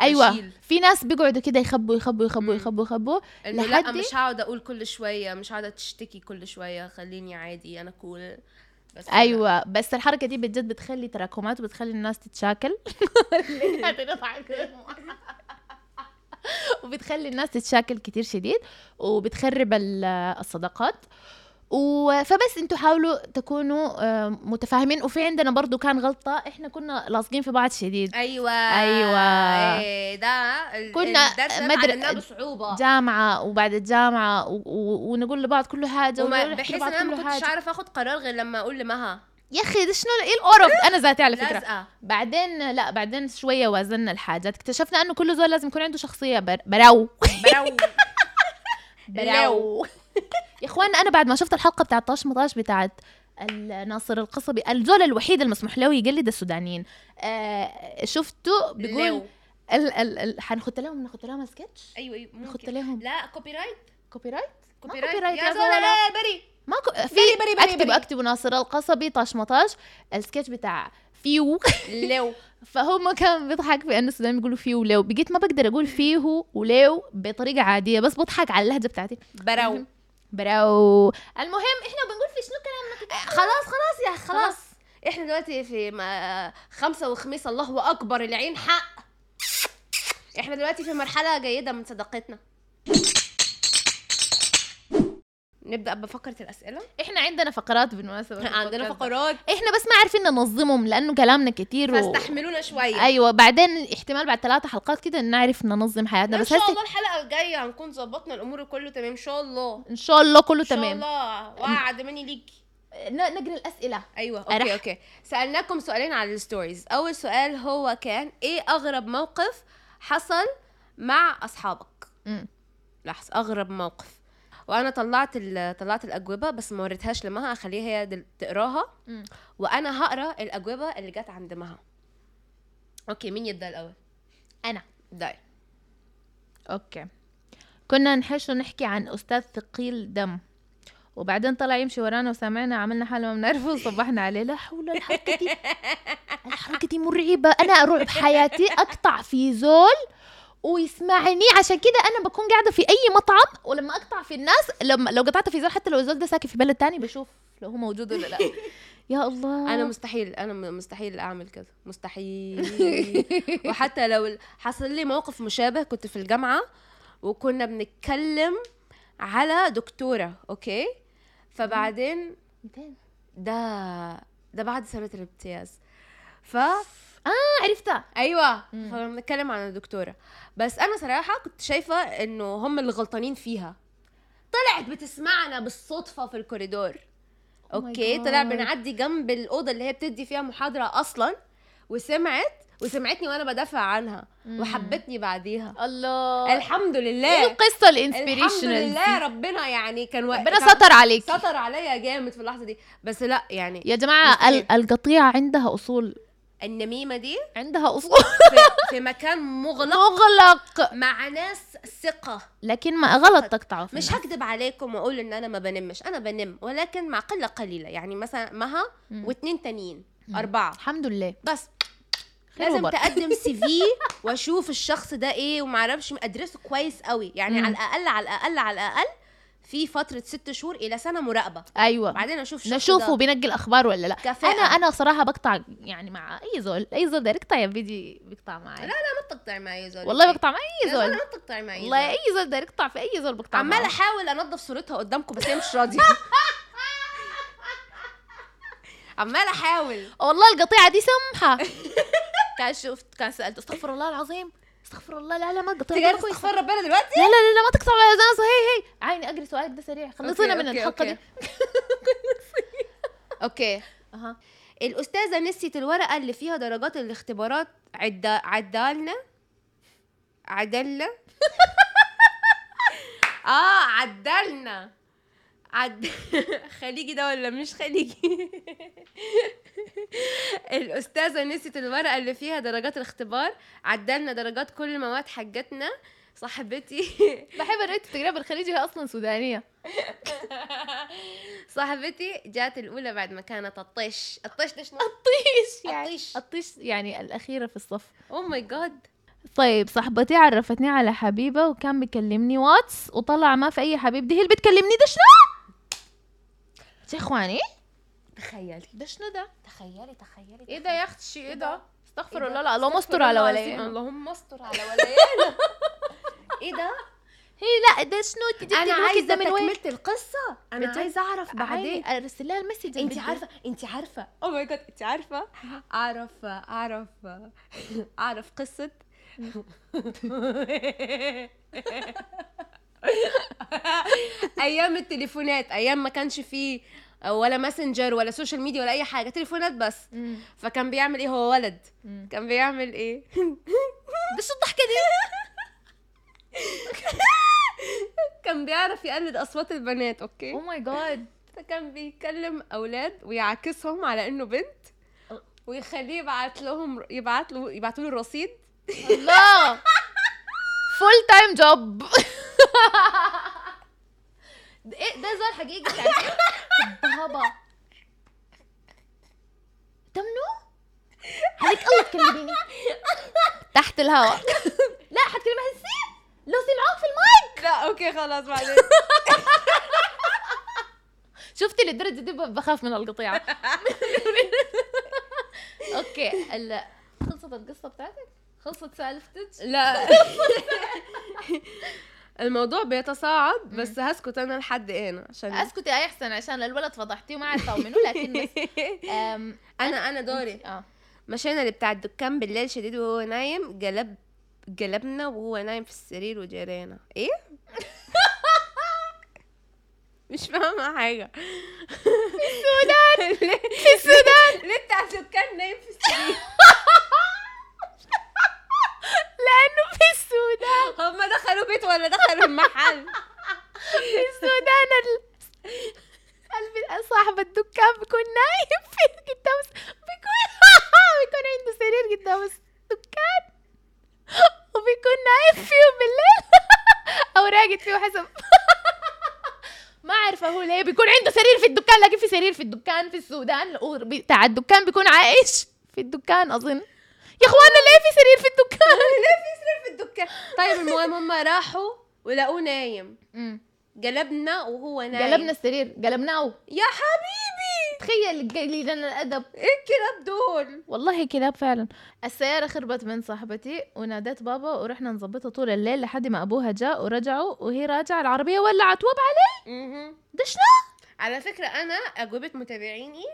Speaker 1: ايوه
Speaker 2: بشيل.
Speaker 1: في ناس بيقعدوا كده يخبوا يخبوا يخبوا
Speaker 2: مم.
Speaker 1: يخبوا يخبوا
Speaker 2: انه لا
Speaker 1: لحد-
Speaker 2: مش هقعد اقول كل شويه مش هقعد تشتكي كل شويه خليني عادي انا كول بس أنا-
Speaker 1: ايوه بس الحركه دي بجد بتخلي تراكمات وبتخلي الناس تتشاكل وبتخلي الناس تتشاكل كتير شديد وبتخرب ال- الصداقات و... فبس انتوا حاولوا تكونوا آه، متفاهمين وفي عندنا برضو كان غلطه احنا كنا لاصقين في بعض شديد
Speaker 2: ايوه
Speaker 1: أيوة.
Speaker 2: إيه ده ال-
Speaker 1: كنا
Speaker 2: الدرس ده
Speaker 1: مدر-
Speaker 2: اتعلمناه بصعوبه
Speaker 1: جامعه وبعد الجامعه و... و... ونقول لبعض كل حاجه
Speaker 2: وما
Speaker 1: ونقول لبعض
Speaker 2: بحيث ان انا
Speaker 1: كل
Speaker 2: ما كنتش
Speaker 1: حاجة.
Speaker 2: عارف اخد قرار غير لما اقول لمها
Speaker 1: يا اخي ده شنو ايه القرف انا ذاتي على فكره
Speaker 2: لازقه
Speaker 1: بعدين لا بعدين شويه وازنا الحاجات اكتشفنا انه كل زول لازم يكون عنده شخصيه بر... براو
Speaker 2: براو
Speaker 1: براو يا اخوان انا بعد ما شفت الحلقه بتاعت طاش مطاش بتاعت الناصر القصبي الزول الوحيد المسموح له يقلد السودانيين آه شفته بيقول
Speaker 2: لو.
Speaker 1: ال ال ال حنخت لهم نخت لهم سكتش
Speaker 2: ايوه ايوه
Speaker 1: نخت
Speaker 2: ممكن
Speaker 1: لهم
Speaker 2: لا كوبي رايت
Speaker 1: كوبي رايت ما
Speaker 2: كوبي
Speaker 1: آه، copyright
Speaker 2: رايت
Speaker 1: يا
Speaker 2: يا
Speaker 1: زلمة.
Speaker 2: زلمه لا بري
Speaker 1: ما كو... في
Speaker 2: بري بري بري
Speaker 1: اكتب
Speaker 2: بري.
Speaker 1: اكتب ناصر القصبي طاش مطاش السكتش بتاع فيو
Speaker 2: لو
Speaker 1: فهم كان بيضحك في انه السودان بيقولوا فيه ولو بقيت ما بقدر اقول فيه ولو بطريقه عاديه بس بضحك على اللهجه بتاعتي
Speaker 2: براو
Speaker 1: براو المهم احنا بنقول في شنو كلامنا كده؟
Speaker 2: خلاص خلاص يا أخ، خلاص احنا دلوقتي في ما خمسة وخميس الله اكبر العين حق احنا دلوقتي في مرحلة جيدة من صداقتنا نبدأ بفقرة الأسئلة
Speaker 1: احنا عندنا فقرات بالمناسبه
Speaker 2: عندنا فقرات
Speaker 1: احنا بس ما عارفين ننظمهم لانه كلامنا كتير و...
Speaker 2: فاستحملونا شوية
Speaker 1: ايوه بعدين احتمال بعد ثلاثة حلقات كده نعرف ننظم حياتنا
Speaker 2: ان
Speaker 1: بس
Speaker 2: شاء
Speaker 1: هسه
Speaker 2: الله الحلقة الجاية هنكون ظبطنا الأمور كله تمام ان شاء الله
Speaker 1: ان شاء الله كله
Speaker 2: ان شاء
Speaker 1: تمام
Speaker 2: الله وعد مني ليكي
Speaker 1: ن- نقرا الاسئله
Speaker 2: ايوه
Speaker 1: أرح.
Speaker 2: اوكي اوكي سالناكم سؤالين على الستوريز اول سؤال هو كان ايه اغرب موقف حصل مع اصحابك
Speaker 1: مم.
Speaker 2: لحظه اغرب موقف وانا طلعت ال- طلعت الاجوبه بس ما وريتهاش لمها اخليها هي دل- تقراها
Speaker 1: مم.
Speaker 2: وانا هقرا الاجوبه اللي جت عند مها اوكي مين يبدا الاول
Speaker 1: انا
Speaker 2: داي
Speaker 1: اوكي كنا نحش ونحكي عن استاذ ثقيل دم وبعدين طلع يمشي ورانا وسمعنا عملنا حالنا ما بنعرفه وصبحنا عليه لا حول الحركة دي الحركة دي مرعبة أنا أروح بحياتي أقطع في زول ويسمعني عشان كده انا بكون قاعده في اي مطعم ولما اقطع في الناس لما لو قطعت في زول حتى لو الزول ده ساكن في بلد تاني بشوف لو هو موجود ولا لا يا الله
Speaker 2: انا مستحيل انا م- مستحيل اعمل كده مستحيل وحتى لو ال- حصل لي موقف مشابه كنت في الجامعه وكنا بنتكلم على دكتوره اوكي فبعدين ده ده بعد سنه الامتياز ف
Speaker 1: ما آه، عرفتها
Speaker 2: ايوه
Speaker 1: مم.
Speaker 2: كنا بنتكلم عن الدكتوره بس انا صراحه كنت شايفه انه هم اللي غلطانين فيها طلعت بتسمعنا بالصدفه في الكوريدور
Speaker 1: Oh my
Speaker 2: اوكي طلع
Speaker 1: God.
Speaker 2: بنعدي جنب الاوضه اللي هي بتدي فيها محاضره اصلا وسمعت وسمعتني وانا بدافع عنها
Speaker 1: مم.
Speaker 2: وحبتني بعديها
Speaker 1: الله
Speaker 2: الحمد
Speaker 1: ايه
Speaker 2: لله
Speaker 1: القصه
Speaker 2: إيه؟ الحمد
Speaker 1: الانسبيريشنال
Speaker 2: لله ربنا يعني كان وقت
Speaker 1: ربنا ستر عليك
Speaker 2: ستر عليا جامد في اللحظه دي بس لا يعني
Speaker 1: يا جماعه
Speaker 2: مستحيل.
Speaker 1: ال- القطيعه عندها اصول
Speaker 2: النميمه دي
Speaker 1: عندها اصول
Speaker 2: في, في مكان مغلق
Speaker 1: مغلق
Speaker 2: مع ناس ثقه
Speaker 1: لكن ما غلط تقطعه في
Speaker 2: مش
Speaker 1: الناس.
Speaker 2: هكدب عليكم واقول ان انا ما بنمش انا بنم ولكن مع قله قليله يعني مثلا مها
Speaker 1: مم.
Speaker 2: واتنين تانيين
Speaker 1: مم.
Speaker 2: اربعه
Speaker 1: الحمد لله
Speaker 2: بس
Speaker 1: خير
Speaker 2: لازم
Speaker 1: وبركة.
Speaker 2: تقدم سي في واشوف الشخص ده ايه وما اعرفش ادرسه كويس قوي يعني
Speaker 1: مم.
Speaker 2: على الاقل على الاقل على الاقل في فتره ست شهور الى سنه مراقبه
Speaker 1: ايوه
Speaker 2: بعدين اشوف الشخص
Speaker 1: نشوفه
Speaker 2: ده
Speaker 1: بينقي الاخبار ولا لا
Speaker 2: كفاءه
Speaker 1: انا انا صراحه بقطع يعني مع اي زول اي زول ده يقطع يا بيجي بيقطع معي
Speaker 2: ما بتقطع معايا زول
Speaker 1: والله بقطع مع اي
Speaker 2: يا زول
Speaker 1: زول
Speaker 2: ما بتقطع معايا
Speaker 1: والله
Speaker 2: والله
Speaker 1: اي زول ده يقطع في اي زول بقطع
Speaker 2: عمال
Speaker 1: معاه.
Speaker 2: احاول انظف صورتها قدامكم بس هي مش راضيه عمال احاول
Speaker 1: والله القطيعه دي سمحه كان شفت كان سالت استغفر الله العظيم استغفر الله لا لا ما القطيعه دي
Speaker 2: تجي
Speaker 1: ما كويسة.
Speaker 2: تستغفر ربنا دلوقتي
Speaker 1: لا لا لا لا ما تقطع ولا زنزة هي هي عيني اقري سؤالك ده سريع خلصينا
Speaker 2: أوكي،
Speaker 1: من
Speaker 2: أوكي،
Speaker 1: الحلقه
Speaker 2: أوكي.
Speaker 1: دي
Speaker 2: اوكي
Speaker 1: اها
Speaker 2: الاستاذه نسيت الورقه اللي فيها درجات الاختبارات عد... عدالنا عدلنا اه عدلنا عد... خليجي ده ولا مش خليجي الاستاذه نسيت الورقه اللي فيها درجات الاختبار عدلنا درجات كل مواد حاجتنا صاحبتي
Speaker 1: بحب الريت التجربه بالخليجي هي اصلا سودانيه
Speaker 2: صاحبتي جات الاولى بعد ما كانت الطش الطش ده شنو
Speaker 1: الطيش يعني
Speaker 2: الطش
Speaker 1: الطيش يعني الاخيره في الصف
Speaker 2: او ماي جاد
Speaker 1: طيب صاحبتي عرفتني على حبيبه وكان بيكلمني واتس وطلع ما في اي حبيب دي هي اللي بتكلمني ده شنو يا اخواني
Speaker 2: تخيلي
Speaker 1: ده شنو ده
Speaker 2: تخيلي تخيلي
Speaker 1: ايه ده يا اختي ايه ده استغفر
Speaker 2: إيه ده؟
Speaker 1: الله لا اللهم
Speaker 2: استغفر
Speaker 1: استر على
Speaker 2: الله العظيم،
Speaker 1: ولاية
Speaker 2: اللهم استر على ولايانا ايه ده
Speaker 1: هي لا ده شنو جبتي
Speaker 2: انا
Speaker 1: الوكيل
Speaker 2: عايزه
Speaker 1: ده من وين
Speaker 2: تكمله القصه انا
Speaker 1: بت-
Speaker 2: عايزه اعرف بعدين
Speaker 1: عادي، ارسل لها المسج
Speaker 2: انت عارفه انت عارفه او ماي جاد انت عارفه اعرف اعرف اعرف قصه ايام التليفونات ايام ما كانش فيه ولا ماسنجر ولا سوشيال ميديا ولا اي حاجه تليفونات بس فكان بيعمل ايه هو ولد كان بيعمل ايه
Speaker 1: ده شو الضحكه دي
Speaker 2: كان بيعرف يقلد اصوات البنات اوكي
Speaker 1: او ماي جاد
Speaker 2: فكان بيكلم اولاد ويعاكسهم على انه بنت ويخليه يبعت لهم يبعت له يبعتوا له الرصيد
Speaker 1: الله فول تايم جوب
Speaker 2: ايه ده زول حقيقي يعني
Speaker 1: بابا تمنو عليك الله تكلميني تحت الهواء لا حتكلمي هالسيب لو سمعوك في المايك
Speaker 2: لا اوكي خلاص بعدين
Speaker 1: شفتي للدرجه دي بخاف من القطيعه اوكي ال- خلصت القصه بتاعتك خلصت سالفتك
Speaker 2: لا الموضوع بيتصاعد بس هسكت انا لحد هنا عشان
Speaker 1: اسكتي يا احسن عشان الولد فضحتيه ما عارفه منو لكن بس أم،
Speaker 2: انا انا دوري
Speaker 1: اه
Speaker 2: مشينا اللي بتاع الدكان بالليل شديد وهو نايم جلب جلبنا وهو نايم في السرير وجرينا ايه مش فاهمة حاجة في السودان في السودان ليه بتاع الدكان نايم في السرير
Speaker 1: لانه في السودان
Speaker 2: هما دخلوا بيت ولا دخلوا المحل
Speaker 1: في السودان ال... الب- صاحب الدكان بيكون نايم في قدام الس- بيكون بيكون عنده سرير قدام الدكان وبيكون نايم فيه بالليل او راقد فيه حسب ما عارفه هو حلو ليه بيكون عنده سرير في الدكان لكن في سرير في الدكان في السودان بتاع الدكان بيكون عايش في الدكان اظن يا اخوانا ليه في سرير في الدكان
Speaker 2: في الدكان طيب المهم هم راحوا ولقوه نايم
Speaker 1: أمم.
Speaker 2: قلبنا وهو نايم
Speaker 1: قلبنا السرير قلبناه
Speaker 2: يا حبيبي
Speaker 1: تخيل قليل الادب
Speaker 2: ايه الكلاب دول
Speaker 1: والله كلاب فعلا السيارة خربت من صاحبتي وناديت بابا ورحنا نظبطها طول الليل لحد ما أبوها جاء ورجعوا وهي راجعة العربية ولعت وبعد
Speaker 2: مهم.
Speaker 1: ده شنو؟
Speaker 2: على فكره انا اجوبه متابعيني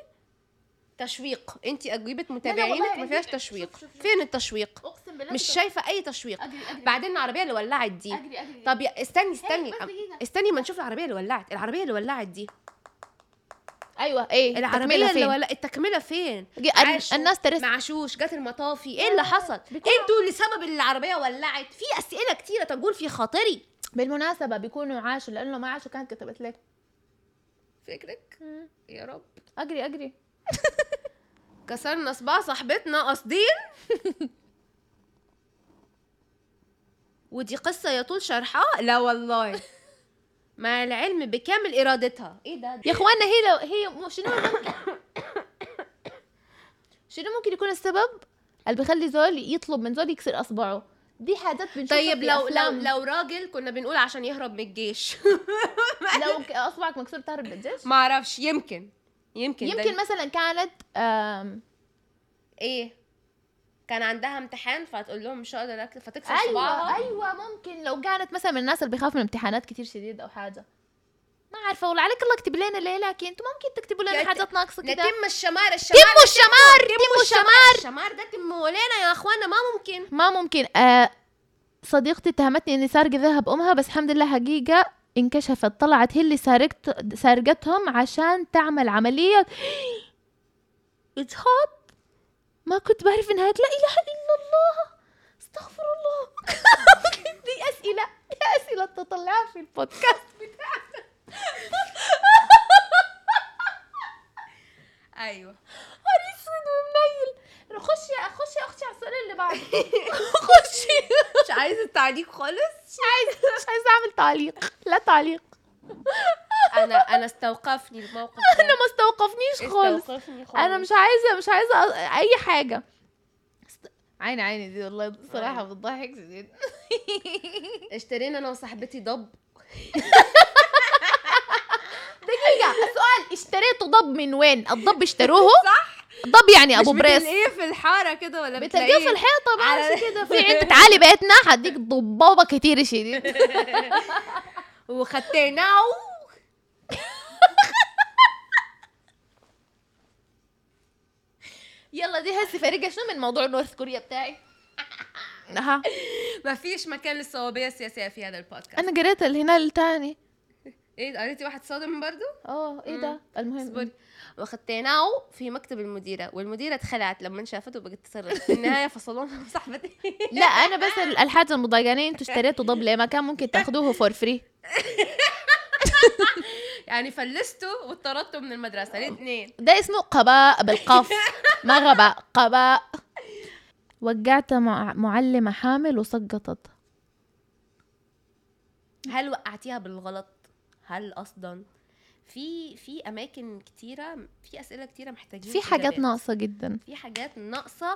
Speaker 2: تشويق انت اجوبه
Speaker 1: والله
Speaker 2: متابعينك ما
Speaker 1: عندي-
Speaker 2: فيهاش
Speaker 1: شوف-
Speaker 2: تشويق
Speaker 1: شوف- شوف.
Speaker 2: فين التشويق
Speaker 1: أقسم بالله
Speaker 2: مش شايفه اي تشويق
Speaker 1: أجري أجري
Speaker 2: بعدين العربيه اللي ولعت دي
Speaker 1: أجري أجري
Speaker 2: طب يا استني استني
Speaker 1: بس دقيقة.
Speaker 2: استني ما نشوف العربيه اللي ولعت العربيه اللي ولعت دي
Speaker 1: أيوه إيه
Speaker 2: العربيه
Speaker 1: تكملة
Speaker 2: اللي
Speaker 1: فين؟
Speaker 2: ولعت التكمله فين
Speaker 1: جي-
Speaker 2: عاشوا،
Speaker 1: الناس ترس
Speaker 2: معشوش جت المطافي ايه اللي حصل
Speaker 1: بيكون-
Speaker 2: انتوا لسبب اللي العربيه ولعت في اسئله كتيره تقول في خاطري
Speaker 1: بالمناسبة بيكونوا عاشوا لأنه ما عاشوا كانت كتبت لك
Speaker 2: فكرك يا رب
Speaker 1: أجري أجري
Speaker 2: كسرنا صباع صاحبتنا قاصدين ودي قصة يطول شرحها لا والله مع العلم بكامل إرادتها إيه ده
Speaker 1: يا إخوانا هي لو هي مو- شنو ممكن شنو ممكن يكون السبب اللي بيخلي زول يطلب من زول يكسر أصبعه؟ دي حاجات بنشوفها
Speaker 2: طيب
Speaker 1: في
Speaker 2: لو لو
Speaker 1: أفلام.
Speaker 2: لو راجل كنا بنقول عشان يهرب من الجيش
Speaker 1: لو ك- اصبعك مكسور تهرب للجيش
Speaker 2: ما اعرفش يمكن يمكن ده-
Speaker 1: يمكن مثلا كانت آم،
Speaker 2: ايه كان عندها امتحان فتقول لهم مش هقدر اكل فتكسر
Speaker 1: ايوه
Speaker 2: صباعها
Speaker 1: ايوه ممكن لو كانت مثلا من الناس اللي بيخافوا من امتحانات كتير شديد او حاجه ما عارفه والله عليك الله اكتب لنا ليه لكن انتوا ممكن تكتبوا لنا
Speaker 2: يا ت-
Speaker 1: حاجات ناقصه كده
Speaker 2: نتم الشمار الشمار
Speaker 1: تموا الشمار تموا الشمار
Speaker 2: الشمار ده تم ولينا يا اخوانا ما ممكن
Speaker 1: ما ممكن آه، صديقتي اتهمتني اني سارقه ذهب امها بس الحمد لله حقيقه انكشفت طلعت هي اللي سارقت سارقتهم عشان تعمل عمليه اجهاض ما كنت بعرف انها لا اله الا الله استغفر الله دي اسئله دي اسئله تطلعها في البودكاست أيوة.
Speaker 2: ايوه
Speaker 1: نهار اسود ومنيل خشي خشي اختي على السؤال اللي بعده خشي
Speaker 2: مش عايزه تعليق خالص
Speaker 1: مش عايزه مش عايزه اعمل تعليق لا تعليق
Speaker 2: انا انا استوقفني الموقف
Speaker 1: انا
Speaker 2: ده
Speaker 1: ما استوقفنيش خالص
Speaker 2: استوقفني خالص
Speaker 1: انا مش عايزه مش عايزه أ- اي حاجه است- عيني عيني دي والله صراحه
Speaker 2: أيوة.
Speaker 1: بتضحك شديد
Speaker 2: اشترينا انا وصاحبتي ضب
Speaker 1: دقيقه السؤال اشتريتوا ضب من وين الضب اشتروه
Speaker 2: صح
Speaker 1: ضب يعني ابو بريس
Speaker 2: ايه في الحاره كده ولا
Speaker 1: بتلاقيه في الحيطه
Speaker 2: على-
Speaker 1: ماشي كده في انت تعالي بيتنا حديك ضبابه كتير شديد
Speaker 2: وخدتناه
Speaker 1: يلا دي هسه فريقة شنو من موضوع نورث كوريا بتاعي ها
Speaker 2: مفيش مكان للصوابيه السياسيه في هذا البودكاست
Speaker 1: انا قريت هنا الثاني
Speaker 2: ايه قريتي واحد صادم برضو
Speaker 1: اه ايه ده المهم
Speaker 2: اصبري وخدتناه في مكتب المديره والمديره اتخلعت لما شافته بقت تصرخ في النهايه فصلونا صاحبتي
Speaker 1: لا انا بس ال- الحاجه المضايقاني انتوا اشتريتوا ضب ليه ما كان ممكن تاخدوه فور فري
Speaker 2: يعني فلسته واطردته من المدرسه الاثنين
Speaker 1: ده اسمه قباء بالقاف ما غباء قباء وقعت مع معلمة حامل وسقطت
Speaker 2: هل وقعتيها بالغلط هل قصدا في في اماكن كتيره في اسئله كتيره محتاجين
Speaker 1: في حاجات
Speaker 2: إجابات.
Speaker 1: ناقصة جدا
Speaker 2: في حاجات ناقصه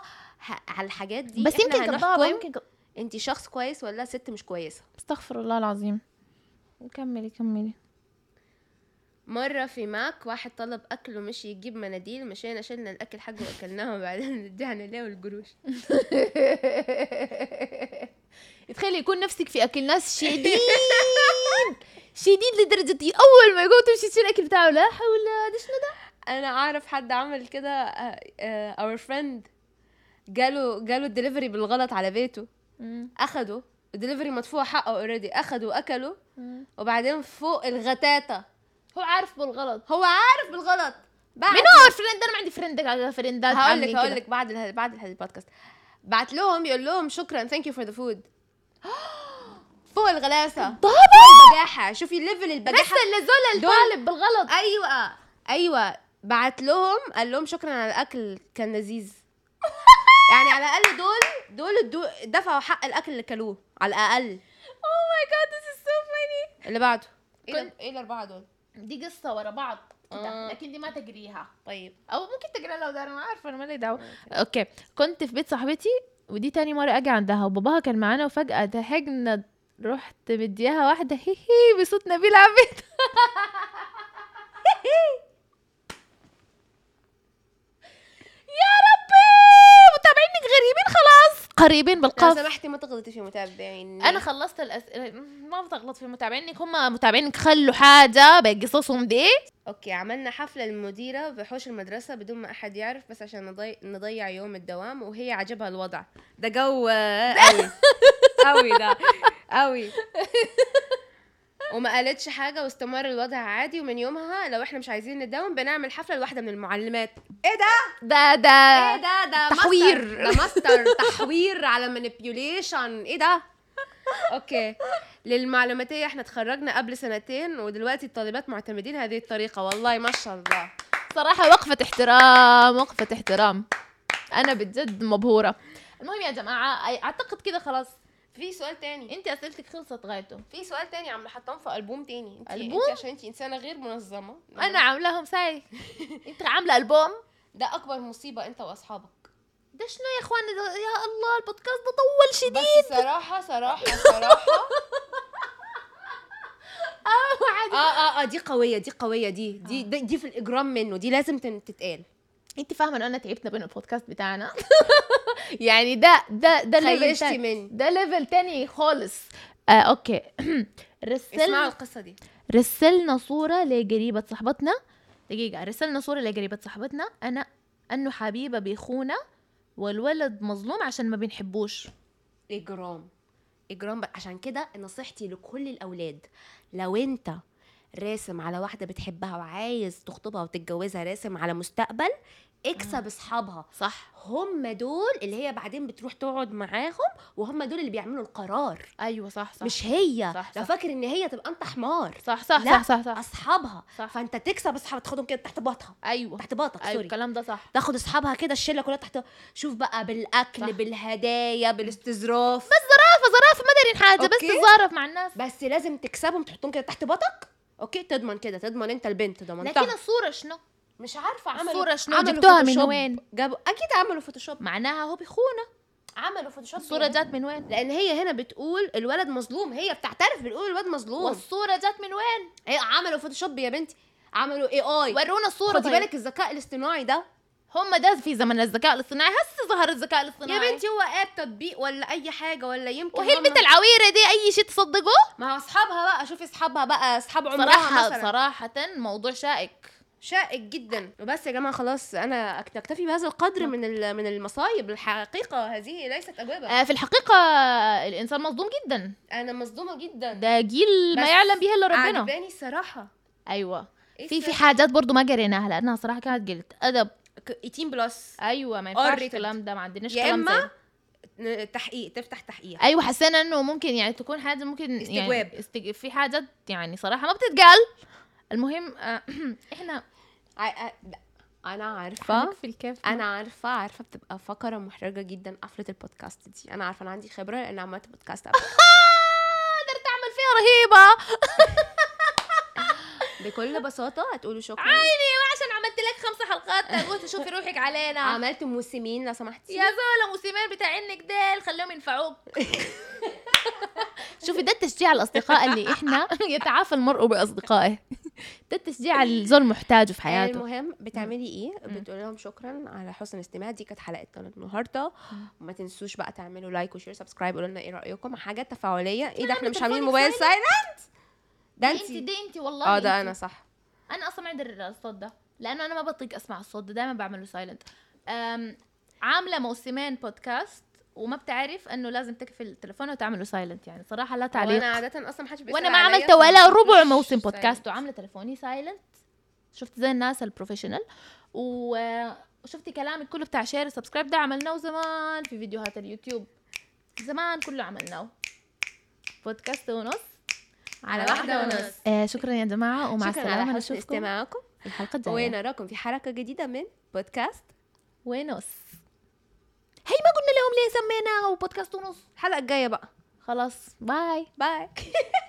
Speaker 2: ه- على الحاجات دي
Speaker 1: بس يمكن قباء
Speaker 2: هنحكم
Speaker 1: يمكن قباء.
Speaker 2: انت شخص كويس ولا ست مش كويسه
Speaker 1: استغفر الله العظيم كملي كملي
Speaker 2: مره في ماك واحد طلب اكل ومشي يجيب مناديل مشينا شلنا الاكل حقه واكلناه وبعدين رجعنا ليه والقروش
Speaker 1: تخيلي يكون نفسك في اكل ناس شديد شديد لدرجة اول ما يقوم تمشي تشيل الاكل بتاعه لا حول ده شنو ده
Speaker 2: انا اعرف حد عمل كده آه، اور فريند جاله جاله الدليفري بالغلط على بيته اخده الدليفري مدفوع حقه اوريدي اخده واكله وبعدين فوق الغتاتة
Speaker 1: هو عارف بالغلط
Speaker 2: هو عارف بالغلط بعد
Speaker 1: مين هو الفريند انا ما عندي فريند فريندات
Speaker 2: هقول
Speaker 1: عمي
Speaker 2: لك
Speaker 1: كده.
Speaker 2: هقول لك بعد ال- بعد ال- البودكاست بعت لهم يقول لهم شكرا ثانك يو فور ذا فود فوق الغلاسه
Speaker 1: طبعا
Speaker 2: بجاحه شوفي ليفل البجاحه
Speaker 1: لسه اللي زول
Speaker 2: دول-
Speaker 1: الطالب بالغلط
Speaker 2: ايوه ايوه بعت لهم قال لهم شكرا على الاكل كان لذيذ يعني على الاقل دول دول الدو- دفعوا حق الاكل اللي كلوه على الاقل
Speaker 1: Oh اوه ماي جاد ذس از سو فاني
Speaker 2: اللي بعده
Speaker 1: إيه ال-
Speaker 2: ايه الاربعه دول
Speaker 1: دي قصه ورا بعض كده،
Speaker 2: آه.
Speaker 1: لكن دي ما تقريها
Speaker 2: طيب
Speaker 1: او ممكن تقرا لو دار ما عارفه انا مالي دعوه اوكي كنت في بيت صاحبتي ودي تاني مرة أجي عندها وباباها كان معانا وفجأة ضحكنا رحت مديها واحدة هي هي بصوت نبيل عبيد يا ربي متابعينك غريبين خلاص قريبين
Speaker 2: لو
Speaker 1: بالقاف
Speaker 2: سمحتي ما تغلطي في متابعين
Speaker 1: انا خلصت الاسئله ما بتغلط في متابعينك هم متابعينك خلوا حاجه بقصصهم دي
Speaker 2: اوكي عملنا حفله المديره بحوش المدرسه بدون ما احد يعرف بس عشان نضي... نضيع يوم الدوام وهي عجبها الوضع ده جو آه، قوي قوي ده قوي وما قالتش حاجه واستمر الوضع عادي ومن يومها لو احنا مش عايزين نداوم بنعمل حفله لواحده من المعلمات ايه ده
Speaker 1: ده ده
Speaker 2: ايه ده ده ماستر-
Speaker 1: آه، تحوير.
Speaker 2: ده ماستر تحوير على مانيبيوليشن ايه ده اوكي للمعلوماتيه احنا اتخرجنا قبل سنتين ودلوقتي الطالبات معتمدين هذه الطريقه والله ما شاء الله
Speaker 1: صراحة وقفة احترام وقفة احترام أنا بجد مبهورة المهم يا جماعة أي- أعتقد كده خلاص
Speaker 2: في سؤال تاني
Speaker 1: أنت أسئلتك خلصت غايته
Speaker 2: في سؤال تاني عم حطام في البوم تاني انت
Speaker 1: ألبوم؟
Speaker 2: انت عشان انت انسانه غير نعم. منظمه
Speaker 1: أنا عاملاهم ساي أنت عاملة ألبوم
Speaker 2: ده اكبر مصيبه انت واصحابك
Speaker 1: ده شنو يا إخوان ده- يا الله البودكاست ده طول شديد
Speaker 2: بس صراحه صراحه صراحه اه اه اه دي قويه دي قويه دي دي دي, دي في الاجرام منه دي لازم تن- تتقال
Speaker 1: أنت فاهمة إنه أنا تعبت بين البودكاست بتاعنا يعني ده ده ده ليفل
Speaker 2: خيشتي
Speaker 1: تاني
Speaker 2: مني
Speaker 1: ده ليفل تاني خالص آه أوكي
Speaker 2: اسمعوا
Speaker 1: رسلنا
Speaker 2: القصه دي
Speaker 1: رسلنا صورة لقريبة صاحبتنا دقيقة رسلنا صورة لقريبة صاحبتنا أنا أنه حبيبة بيخونة والولد مظلوم عشان ما بنحبوش
Speaker 2: اجرام اجرام بقى. عشان كده نصيحتي لكل الاولاد لو انت راسم على واحده بتحبها وعايز تخطبها وتتجوزها راسم على مستقبل اكسب اصحابها
Speaker 1: صح
Speaker 2: هم دول اللي هي بعدين بتروح تقعد معاهم وهم دول اللي بيعملوا القرار
Speaker 1: أيوة صح صح
Speaker 2: صح. مش هي
Speaker 1: صح،
Speaker 2: صح لو
Speaker 1: صح.
Speaker 2: فاكر ان هي تبقى انت حمار
Speaker 1: صح صح
Speaker 2: لا.
Speaker 1: صح صح, صح.
Speaker 2: اصحابها
Speaker 1: صح.
Speaker 2: صح. فانت تكسب اصحابها تاخدهم كده تحت باطها
Speaker 1: أيوة
Speaker 2: تحت باطك
Speaker 1: أيوة
Speaker 2: سوري
Speaker 1: الكلام ده صح
Speaker 2: تاخد اصحابها كده الشله كلها تحت شوف بقى بالاكل
Speaker 1: صح.
Speaker 2: صح. بالهدايا بالاستظراف
Speaker 1: زرافة زرافة ما دارين حاجة بس
Speaker 2: أوكي.
Speaker 1: تتزارف مع الناس
Speaker 2: بس لازم تكسبهم تحطهم كده تحت باطك اوكي تضمن كده تضمن انت البنت ضمنتها
Speaker 1: لكن الصورة شنو؟
Speaker 2: مش عارفه عملوا
Speaker 1: الصورة شنو؟
Speaker 2: عملوا
Speaker 1: جبتوها من
Speaker 2: فوتوشوب.
Speaker 1: وين؟
Speaker 2: جابوا اكيد عملوا فوتوشوب
Speaker 1: معناها هو بيخونة
Speaker 2: عملوا فوتوشوب
Speaker 1: الصورة
Speaker 2: يعني.
Speaker 1: جات من وين؟
Speaker 2: لان هي هنا بتقول الولد مظلوم هي بتعترف بتقول الولد مظلوم
Speaker 1: والصورة جات من وين؟
Speaker 2: هي عملوا فوتوشوب يا بنتي عملوا اي اي
Speaker 1: ورونا الصورة
Speaker 2: خدي
Speaker 1: طيب.
Speaker 2: بالك الذكاء الاصطناعي ده
Speaker 1: هم ده في زمن الذكاء الاصطناعي هسه ظهر الذكاء
Speaker 2: يا
Speaker 1: الاصطناعي
Speaker 2: بنتي هو اب تطبيق ولا اي حاجه ولا يمكن نعم.
Speaker 1: وهي
Speaker 2: هم-
Speaker 1: البنت العويرة دي أي شيء تصدقه؟
Speaker 2: ما هو اصحابها بقى شوفي اصحابها بقى اصحاب عمرها
Speaker 1: صراحة
Speaker 2: مثلا
Speaker 1: صراحة موضوع شائك
Speaker 2: شائك جدا وبس يا جماعه خلاص انا أك- نكتفي بهذا القدر من ال- من المصايب الحقيقه هذه ليست اجوبه
Speaker 1: آه، في الحقيقة الإنسان مصدوم جدا
Speaker 2: انا مصدومه جدا
Speaker 1: ده جيل ما
Speaker 2: بس
Speaker 1: يعلم به إلا ربنا
Speaker 2: عجباني الصراحه
Speaker 1: أيوة
Speaker 2: إيه
Speaker 1: في في
Speaker 2: الصراحة؟
Speaker 1: حاجات برضو ما قريناها لأنها صراحة كانت قلت أدب
Speaker 2: ك- 18 بلس
Speaker 1: أيوة ما ينفعش
Speaker 2: Unrated.
Speaker 1: الكلام ده ما عندناش
Speaker 2: يا
Speaker 1: كلام
Speaker 2: إما
Speaker 1: زي ده.
Speaker 2: ن- تحقيق تفتح تحقيق
Speaker 1: أيوة حسينا إنه ممكن يعني تكون حاجة ممكن
Speaker 2: استجواب.
Speaker 1: يعني استج... في حاجات يعني صراحة ما بتتقال المهم آه، إحنا
Speaker 2: ع- أ- انا عارفه
Speaker 1: في الكيف
Speaker 2: انا عارفه عارفه بتبقى فقره محرجه جدا قفله البودكاست دي انا عارفه انا عندي خبره لان عملت بودكاست قبل
Speaker 1: قدرت أعمل فيها رهيبة
Speaker 2: بكل بساطه هتقولوا شكرا
Speaker 1: عيني ما عشان عملت لك خمسة حلقات قلت شوفي روحك علينا
Speaker 2: عملت موسمين لو سمحتي
Speaker 1: يا زولا موسمين بتاعينك ديل خليهم ينفعوك شوفي ده التشجيع الاصدقاء اللي احنا يتعافى المرء باصدقائه ده التشجيع اللي الزول محتاجه في حياته
Speaker 2: آه، المهم بتعملي ايه بتقول لهم شكرا على حسن الاستماع دي كانت حلقتنا النهارده وما تنسوش بقى تعملوا لايك وشير سبسكرايب قولوا لنا ايه رايكم حاجات تفاعليه ايه ده احنا مش عاملين موبايل سايلنت ده
Speaker 1: انت
Speaker 2: انت
Speaker 1: إيه، دي انت والله
Speaker 2: اه إيه ده
Speaker 1: انت.
Speaker 2: انا صح
Speaker 1: انا اصلا ما عندي الصوت ده لانه انا ما بطيق اسمع الصوت ده دائما بعمله سايلنت عامله موسمين بودكاست وما بتعرف انه لازم تقفل التليفون وتعمله سايلنت يعني صراحه لا تعليق
Speaker 2: وانا عاده اصلا محدش بيسأل
Speaker 1: وانا ما
Speaker 2: عليا،
Speaker 1: عملت ولا
Speaker 2: فمش
Speaker 1: ربع موسم
Speaker 2: silent.
Speaker 1: بودكاست وعامله تليفوني سايلنت شفت زي الناس البروفيشنال و- وشفتي كلامي كله بتاع شير سبسكرايب ده عملناه زمان في فيديوهات اليوتيوب زمان كله عملناه بودكاست ونص
Speaker 2: على واحده ونص
Speaker 1: آه شكرا يا جماعه ومع
Speaker 2: شكرا على
Speaker 1: السلامه
Speaker 2: حسن
Speaker 1: نشوفكم
Speaker 2: استماعكم
Speaker 1: في الحلقه الجايه
Speaker 2: ونراكم في حلقه جديده من بودكاست
Speaker 1: ونص هي ما قلنا لهم ليه سميناه بودكاست ونص
Speaker 2: الحلقه الجايه بقى
Speaker 1: خلاص باي
Speaker 2: باي